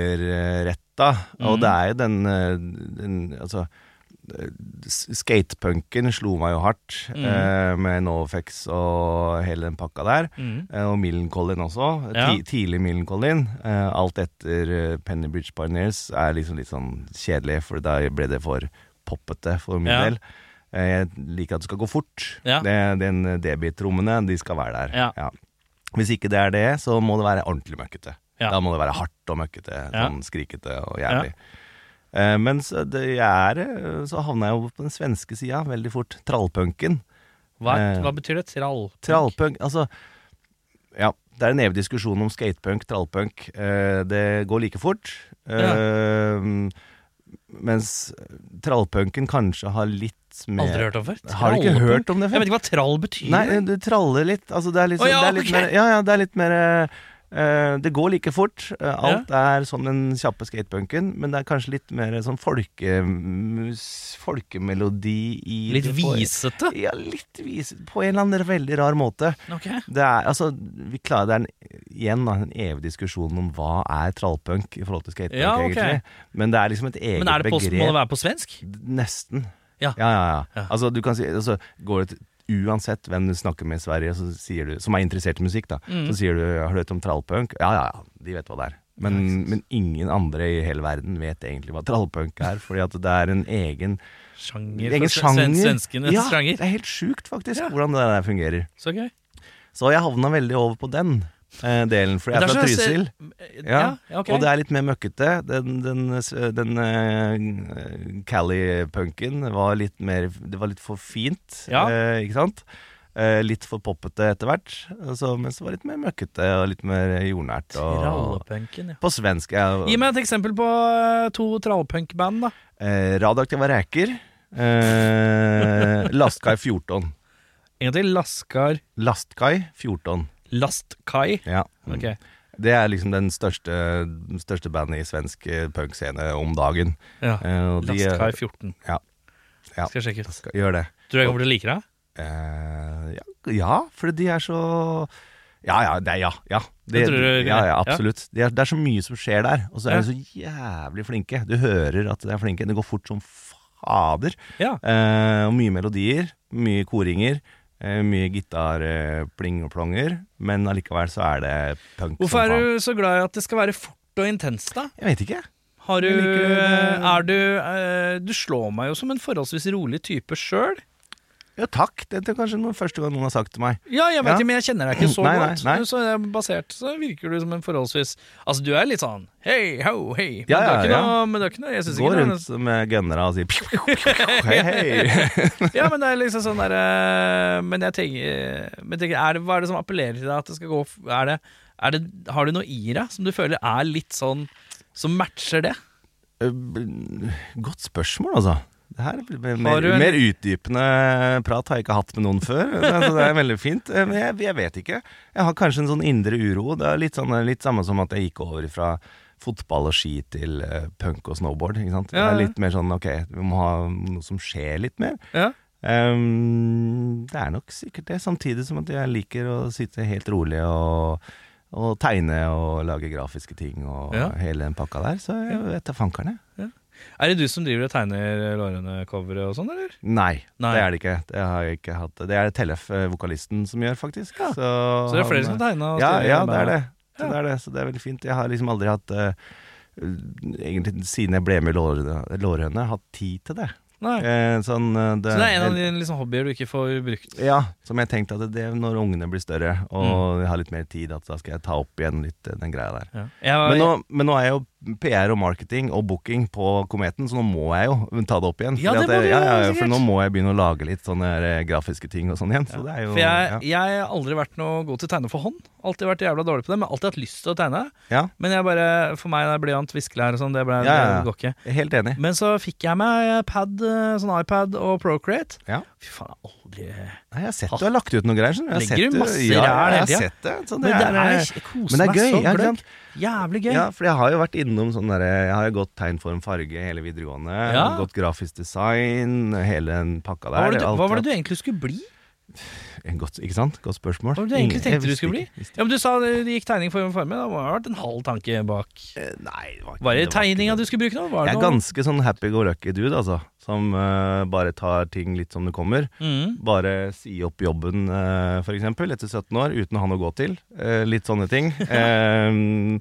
S4: sjangerretta.
S3: Mm.
S4: Og det er jo den, eh, den Altså, eh, s- skatepunken slo meg jo hardt,
S3: Mm.
S4: eh, med Novafex og hele den pakka der. Eh, og Millencolin også.
S3: Mm. Ja.
S4: Ti, tidlig Millencolin. Eh, alt etter eh, Pennybridge Pioneers er liksom litt sånn kjedelig, for da ble det for poppete for min
S3: Ja.
S4: del. Eh, Jeg liker at det skal gå fort.
S3: Ja.
S4: Det, den debitrommene, de skal være der.
S3: Ja.
S4: Hvis ikke det er det, så må det være ordentlig møkkete.
S3: Ja.
S4: Da må det være hardt og møkkete,
S3: Ja.
S4: sånn skrikete og jævlig. Eh, men så, det, jeg er, eh, så havna jeg jo på den svenske sida veldig fort. Trallpunken.
S3: Hva,
S4: Eh.
S3: hva betyr det? Trall?
S4: Trallpunk, altså Ja, det er en evig diskusjon om skatepunk, trallpunk. Eh, det går like fort. Eh, Mens trallpunken kanskje har litt mer
S3: Aldri hørt om før.
S4: Har du ikke
S3: Trallpunk?
S4: hørt om
S3: Jeg
S4: det før?
S3: vet ikke hva trall betyr.
S4: Nei, det traller litt. Altså, det er litt,
S3: Å, ja,
S4: det er
S3: ok.
S4: litt mer, ja, ja, det er litt mer eh, Det går like fort. Eh, alt er sånn den kjappe skatepunken, men det er kanskje litt mer sånn folkemus, folkemelodi i
S3: Litt
S4: på-
S3: visete.
S4: Ja, litt vis. På en eller annen veldig rar måte.
S3: Ok.
S4: Det er, altså, vi klarer, det er en, igjen da, en evig diskusjon om hva er trallpunk i forhold til skatepunk,
S3: Ja, ok.
S4: egentlig. Men det er liksom et eget
S3: Men er det på, må det
S4: begrep.
S3: være på svensk?
S4: Nesten.
S3: Ja.
S4: Ja, ja, ja.
S3: Ja.
S4: Altså, du kan si, altså, går det til Uansett hvem du snakker med i Sverige så sier du, som er interessert i musikk, da,
S3: Mm.
S4: så sier du 'har du hørt om trallpunk'? Ja, ja, ja, de vet hva det er. Men, men ingen andre i hele verden vet egentlig hva trallpunk er, fordi at det er en egen,
S3: Sjanger?
S4: egen
S3: for sven-
S4: sjanger.
S3: Svenskenes
S4: ja,
S3: sjanger.
S4: Det er helt sjukt, faktisk,
S3: Ja.
S4: hvordan det der fungerer.
S3: Så gøy.
S4: Så jeg havna veldig over på den eh, delen, for jeg
S3: Men det
S4: er fra
S3: er så-
S4: Trysil.
S3: Ja, ja, ok.
S4: Og det er litt mer møkkete. Den, den, den eh, Cali-punken var litt mer Det var litt for fint,
S3: Ja.
S4: eh, ikke sant? Eh, litt for poppete etter hvert. Så, mens det var litt mer møkkete og litt mer jordnært. Og,
S3: Trallepunken, ja.
S4: på svensk. Ja,
S3: Gi meg et eksempel på eh, to trallpunkband, da.
S4: eh, radioaktive reker. Eh, Lastkai 14.
S3: En gang til. Laskar
S4: Lastkai 14.
S3: Lastkai.
S4: Ja.
S3: Ok.
S4: Det er liksom den største, største bandet i svensk eh, punkscene om dagen.
S3: Ja.
S4: Eh, og de-
S3: Lastkai 14.
S4: Ja. Ja.
S3: Skal jeg sjekke ut.
S4: Skal- Gjør det.
S3: Tror du jeg kommer til å like det?
S4: Eh, ja, ja, for de er så Ja, ja, det er ja. ja.
S3: Det tror du-
S4: ja, ja
S3: ja.
S4: absolutt. De er, det er så mye som skjer der, og så er de så jævlig flinke. Du hører at de er flinke. Det går fort som fader.
S3: Ja.
S4: Eh, og mye melodier, mye koringer. eh, Mye gitarpling og plonger, men allikevel så er det punk som
S3: Hvorfor er
S4: faen.
S3: du så glad i at det skal være fort og intenst, da?
S4: Jeg vet ikke.
S3: Har du,
S4: Jeg liker det.
S3: er du eh, Du slår meg jo som en forholdsvis rolig type sjøl.
S4: Ja, takk. Det er kanskje den første gang noen har sagt til meg.
S3: Ja, jeg vet
S4: Ja.
S3: det, men jeg kjenner deg ikke så
S4: Nei, nei,
S3: godt.
S4: nei.
S3: Så det er basert så virker du som en forholdsvis Altså, du er litt sånn hei, ho, hei. Men
S4: Ja,
S3: det er
S4: ja,
S3: ikke
S4: ja.
S3: noe, men det er ikke noe Jeg synes
S4: Går
S3: ikke
S4: rundt med gønnere og sier pju, pju, pju, hei, hei.
S3: det er Ja, men det er liksom sånn derre Men jeg tenker, men tenker er det, Hva er det som appellerer til deg at det skal gå f- er det, er det, Har du noe i deg som du føler er litt sånn Som matcher det?
S4: Eh, Godt spørsmål, altså. Det her blir mer,
S3: Har
S4: mer,
S3: du en-
S4: mer utdypende prat har jeg ikke hatt med noen før. Altså, det er veldig fint. Eh, Men jeg, jeg vet ikke. Jeg har kanskje en sånn indre uro. Det er litt, sånn, litt samme som at jeg gikk over fra fotball og ski til eh, punk og snowboard. Ikke
S3: Ja,
S4: sant? Det
S3: ja.
S4: er litt mer sånn ok, vi må ha noe som skjer litt mer.
S3: Ja.
S4: Ehm, det er nok sikkert det, samtidig som at jeg liker å sitte helt rolig og, og tegne og lage grafiske ting og
S3: Ja.
S4: hele den pakka der. Så jeg vet da fankerne.
S3: Er det du som driver og tegner Lårene-coveret og sånn, eller?
S4: Nei,
S3: Nei.
S4: det er det ikke. Det har jeg ikke hatt. Det er Tellef, eh, vokalisten, som gjør, faktisk.
S3: Ja.
S4: Så,
S3: Så det er flere som
S4: han-
S3: tegner? og
S4: ja,
S3: styrer
S4: ja, det
S3: bandet.
S4: er det. Så
S3: Ja.
S4: det er det. Så det er veldig fint. Jeg har liksom aldri hatt eh, Egentlig siden jeg ble med i Lårhøne- Lårhøne, hatt tid til det.
S3: Nei.
S4: Eh, sånn, eh, det
S3: Så det er en av dine liksom, hobbyer du ikke får brukt?
S4: Ja, som jeg tenkte at det når ungene blir større og
S3: Mm.
S4: jeg har litt mer tid, at da skal jeg ta opp igjen litt eh, den greia der.
S3: Ja. Jeg var,
S4: Men nå, men nå er jeg jo PR og marketing og booking på Kometen, så nå må jeg jo ta det opp igjen.
S3: Ja,
S4: Fordi
S3: det
S4: at
S3: må du
S4: ja, ja,
S3: gjøre,
S4: for
S3: sikkert.
S4: nå må jeg begynne å lage litt sånne eh, grafiske ting og sånn igjen. Så det er jo
S3: for jeg,
S4: ja.
S3: jeg har aldri vært noe god til å tegne for hånd. Alltid vært jævla dårlig på det, men alltid hatt lyst til å tegne.
S4: Ja.
S3: Men jeg bare, for meg det er blyant, viskelær og sånn, det, ble,
S4: Ja, ja, ja.
S3: det går ikke.
S4: Jeg er Helt enig.
S3: Men så fikk jeg meg pad, eh, sånn iPad og Procreate.
S4: Ja.
S3: Fy faen, jeg har aldri
S4: Nei, jeg har sett du har lagt ut noen greier. skjønner du. Jeg har
S3: Legger
S4: sett
S3: du masse ræl
S4: ja,
S3: hele
S4: jeg
S3: tida?
S4: har sett det. Så
S3: Men det er,
S4: eh,
S3: jeg koser
S4: men det er
S3: meg
S4: gøy,
S3: så
S4: ja, ikke
S3: gløgg.
S4: sant?
S3: Jævlig gøy.
S4: Ja, for jeg har jo vært innom sånn derre Jeg har jo gått tegn, form, farge hele videregående.
S3: Ja.
S4: Gått grafisk design, hele den pakka der.
S3: Hva var, det du,
S4: Alt-
S3: hva var det du egentlig skulle bli?
S4: Eh, Godt, ikke sant? Godt
S3: Hva
S4: spørsmål.
S3: var det du egentlig
S4: Ingen- jeg
S3: tenkte du
S4: visste
S3: skulle bli?
S4: ikke, visste
S3: Ja, men Du sa det gikk tegning for en farme. Da må det ha vært en halv tanke bak.
S4: ikke. Eh, Nei, det var
S3: Var det
S4: ikke det var ikke
S3: tegninga
S4: det.
S3: du skulle bruke nå? Var det
S4: Jeg er
S3: noe-
S4: ganske sånn happy-go-lucky dude, altså. Som eh, bare tar ting litt som det kommer.
S3: Mhm.
S4: Bare si opp jobben, eh, for eksempel, etter 17 år, uten å ha noe å gå til. Eh, litt sånne ting. Eh,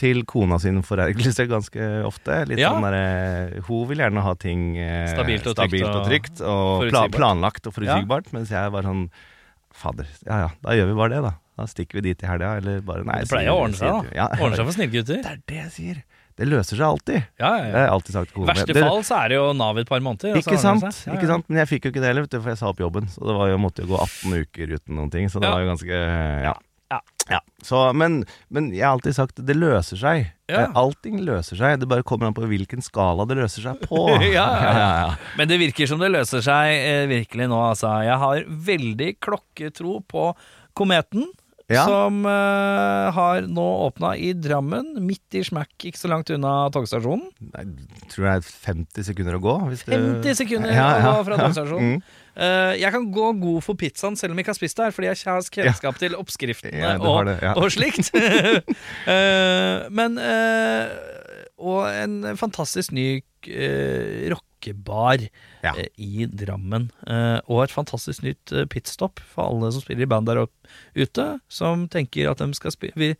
S4: til kona sin forergelse ganske ofte. Litt
S3: Ja.
S4: sånn derre Hun vil gjerne ha ting eh,
S3: Stabilt og trygt
S4: stabilt og,
S3: og
S4: trygt, og pla
S3: forutsigbart.
S4: planlagt og
S3: Ja.
S4: forutsigbart. Mens jeg var sånn Fader, ja ja, da gjør vi bare det, da. Da stikker vi dit i helga, eller bare Nei.
S3: Det
S4: sier-
S3: pleier å ordne seg,
S4: sier-
S3: da.
S4: Ja,
S3: Ordner seg for snillgutter.
S4: Det er det jeg sier. Det løser seg alltid.
S3: Ja,
S4: Det
S3: ja,
S4: har
S3: ja.
S4: jeg alltid sagt til
S3: I
S4: kona
S3: verste
S4: Det-
S3: fall så er det jo Nav i et par måneder. og så
S4: ikke
S3: ordner
S4: sant,
S3: det seg. Ja,
S4: ikke
S3: ja.
S4: sant, men jeg fikk jo ikke det heller, vet du, for jeg sa opp jobben. Så det var jo, måtte jo gå 18 uker uten noen ting, så det
S3: Ja.
S4: var jo ganske eh, Ja.
S3: Ja.
S4: Ja. Så, men, men jeg har alltid sagt det løser seg.
S3: Ja.
S4: Eh, Allting løser seg, det bare kommer an på hvilken skala det løser seg på.
S3: Ja, ja,
S4: ja, ja.
S3: Men det virker som det løser seg eh, virkelig nå, altså. Jeg har veldig klokketro på Kometen,
S4: Ja.
S3: som eh, har nå åpna i Drammen, midt i smekk, ikke så langt unna togstasjonen.
S4: Nei, tror jeg er 50 sekunder å gå. Hvis det...
S3: 50 sekunder
S4: Eh, Ja, ja,
S3: å gå fra
S4: ja.
S3: togstasjonen.
S4: Mm.
S3: Eh, jeg kan gå god for pizzaen selv om jeg ikke har spist der, fordi jeg har kjennskap til oppskriftene
S4: Ja, du
S3: og,
S4: har det, ja.
S3: og slikt. Eh, men eh, Og en fantastisk ny eh, rockebar
S4: Ja.
S3: eh, i Drammen. Eh, og et fantastisk nytt eh, pitstop for alle som spiller i band der opp- ute, som tenker at de skal spille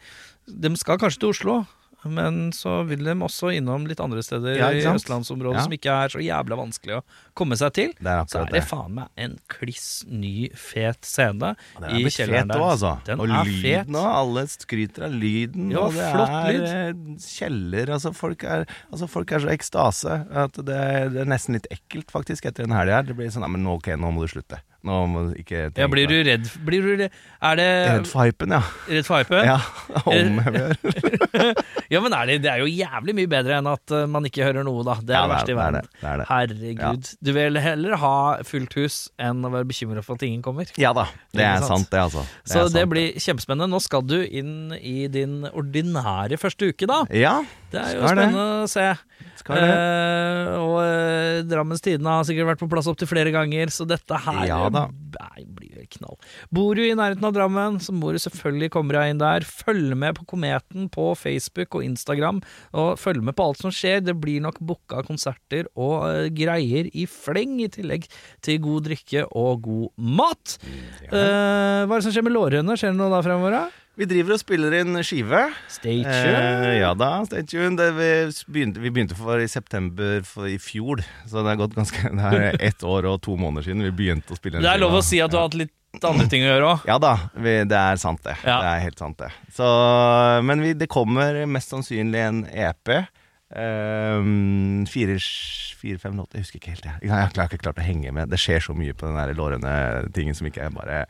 S3: De skal kanskje til Oslo. Men så vil de også innom litt andre steder
S4: Ja,
S3: i
S4: ikke sant?
S3: østlandsområdet
S4: Ja.
S3: som ikke er så jævla vanskelig å komme seg til.
S4: Det er
S3: Så
S4: akkurat
S3: er det
S4: det.
S3: faen meg en kliss ny, fet scene
S4: Den
S3: i
S4: er blitt fet
S3: kjelleren
S4: òg,
S3: der.
S4: altså.
S3: Den
S4: og
S3: er fet.
S4: lyden òg. Alle skryter av lyden.
S3: Ja,
S4: og det
S3: flott
S4: er eh, kjeller. Altså folk, er, altså, folk er så i ekstase at det, det er nesten litt ekkelt, faktisk, etter en helg her. Det blir sånn Nei, men nå- ok, nå må du slutte. Nå må du ikke tenke
S3: Ja, blir
S4: på det.»
S3: du redd Blir du Eh, redd Er det
S4: Redd for hypen, ja.
S3: redd for hype?
S4: ja. Om jeg gjør.
S3: Ja, men er det, det er jo jævlig mye bedre enn at eh, man ikke hører noe, da. Det er
S4: Ja,
S3: det verste i
S4: det er
S3: verden.
S4: det, det er det.
S3: Herregud. Du vil heller ha fullt hus enn å være bekymra for at ingen kommer.
S4: Ja da. Det
S3: Ikke
S4: er
S3: sant?
S4: sant, det, altså. Det
S3: Så
S4: er
S3: det
S4: sant.
S3: blir kjempespennende. Nå skal du inn i din ordinære første uke, da.
S4: Ja,
S3: Det er jo
S4: Skal det.
S3: spennende å se.
S4: skal det.
S3: Eh, og eh, Drammens Tidende har sikkert vært på plass opptil flere ganger, så dette her
S4: Ja da.
S3: Nei, blir knall. Bor du i nærheten av Drammen, så må du selvfølgelig komme deg inn der. Følg med på Kometen på Facebook og Instagram, og følg med på alt som skjer. Det blir nok booka konserter og eh, greier i fleng, i tillegg til god drikke og god mat. Eh, hva er det som skjer med lårhøna? Skjer det noe da fremover? da?
S4: Vi driver og spiller inn skive.
S3: Stay tuned.
S4: Eh, ja da, stay tuned. Det, vi, begynte, vi begynte for i september for, i fjor, så det er gått ganske Det er ett år og to måneder siden vi begynte å spille. den
S3: det er lov
S4: skiva.
S3: å si at du har hatt litt andre ting å gjøre òg.
S4: Ja da, vi, det er sant det.
S3: Ja.
S4: Det er helt sant det. Så, men vi, det kommer mest sannsynlig en EP. Um, fire, fire, fem låter, jeg husker ikke helt det. Jeg har ikke- jeg har ikke klart å henge med. Det skjer så mye på den der lårende tingen som ikke er bare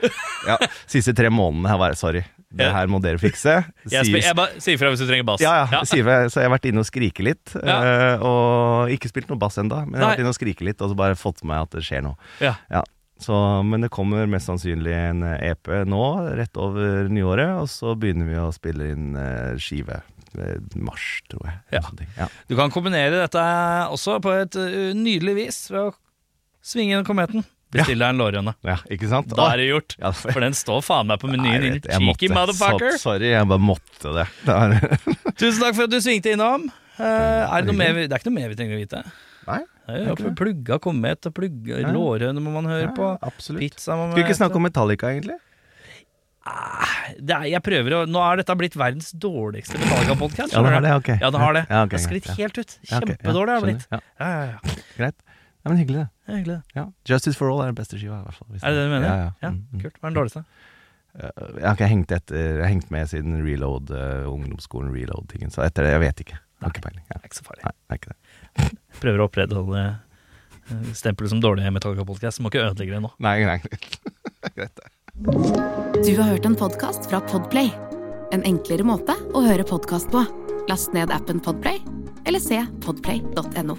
S4: Ja, siste tre månedene har vært sorry. Det her må dere fikse.
S3: Jeg,
S4: Sier-
S3: spil- jeg bare sier fra hvis du trenger bass.
S4: Ja, ja. Sier vi, så jeg har vært inne og skrike litt.
S3: Ja.
S4: eh, Og ikke spilt noe bass enda men jeg har
S3: Nei.
S4: vært inne og skrike litt, og så bare fått med meg at det skjer noe.
S3: Ja.
S4: Ja. Så, men det kommer mest sannsynlig en EP nå, rett over nyåret, og så begynner vi å spille inn eh, skive. eh, Mars, tror jeg.
S3: Ja.
S4: eller sånne ting. Ja.
S3: Du kan kombinere dette også på et ø, nydelig vis ved å svinge inn kometen. Bestill deg en lårhøne.
S4: ja, ikke sant?
S3: Da er det gjort.
S4: Ja, for-
S3: For den står faen meg på
S4: Nei,
S3: menyen,
S4: jeg
S3: din
S4: vet, jeg
S3: cheeky
S4: måtte.
S3: motherfucker.
S4: Så- Sorry, jeg bare måtte det. det er,
S3: Tusen takk for at du svingte innom. Eh, er det, noe mer, vi- det er ikke noe mer vi trenger å vite. Det
S4: nei,
S3: er jo
S4: ikke det.
S3: Plugga komet og plugga
S4: Ja.
S3: lårhøne må man høre på.
S4: ja, absolutt.
S3: Pizza må man
S4: Skulle ikke snakke om Metallica, egentlig?
S3: det er, jeg prøver å, Nå er dette blitt verdens dårligste Metallica-podkast.
S4: Ja, det har det, ok.
S3: Ja, det har det.
S4: Ja, ok,
S3: det har sklitt
S4: greit, ja.
S3: helt ut.
S4: Ja, ok, ja,
S3: Kjempedårlig har det blitt.
S4: skjønner.
S3: Ja,
S4: Ja,
S3: ja, ja.
S4: greit. Ja, men hyggelig, det.
S3: Det er hyggelig, det.
S4: Ja. Justice for All er den beste skiva. i hvert fall hvis
S3: Er det det du mener?
S4: Ja, ja.
S3: Ja,
S4: Mm, mm.
S3: kult. Hva er den dårligste?
S4: Jeg har ikke hengt, etter, jeg har hengt med siden reload, eh, ungdomsskolen reload-tingen. Så etter det, jeg vet ikke. Jeg har ikke peiling. Ja.
S3: Det er ikke så farlig.
S4: Nei, det er ikke det.
S3: prøver å opprettholde eh, stempelet som dårlig Metallica-podkast. Må ikke ødelegge det nå.
S4: Nei, nei.
S1: Du har hørt en podcast fra Podplay. En enklere måte å høre podcast på. Last ned appen Podplay, eller se podplay.no.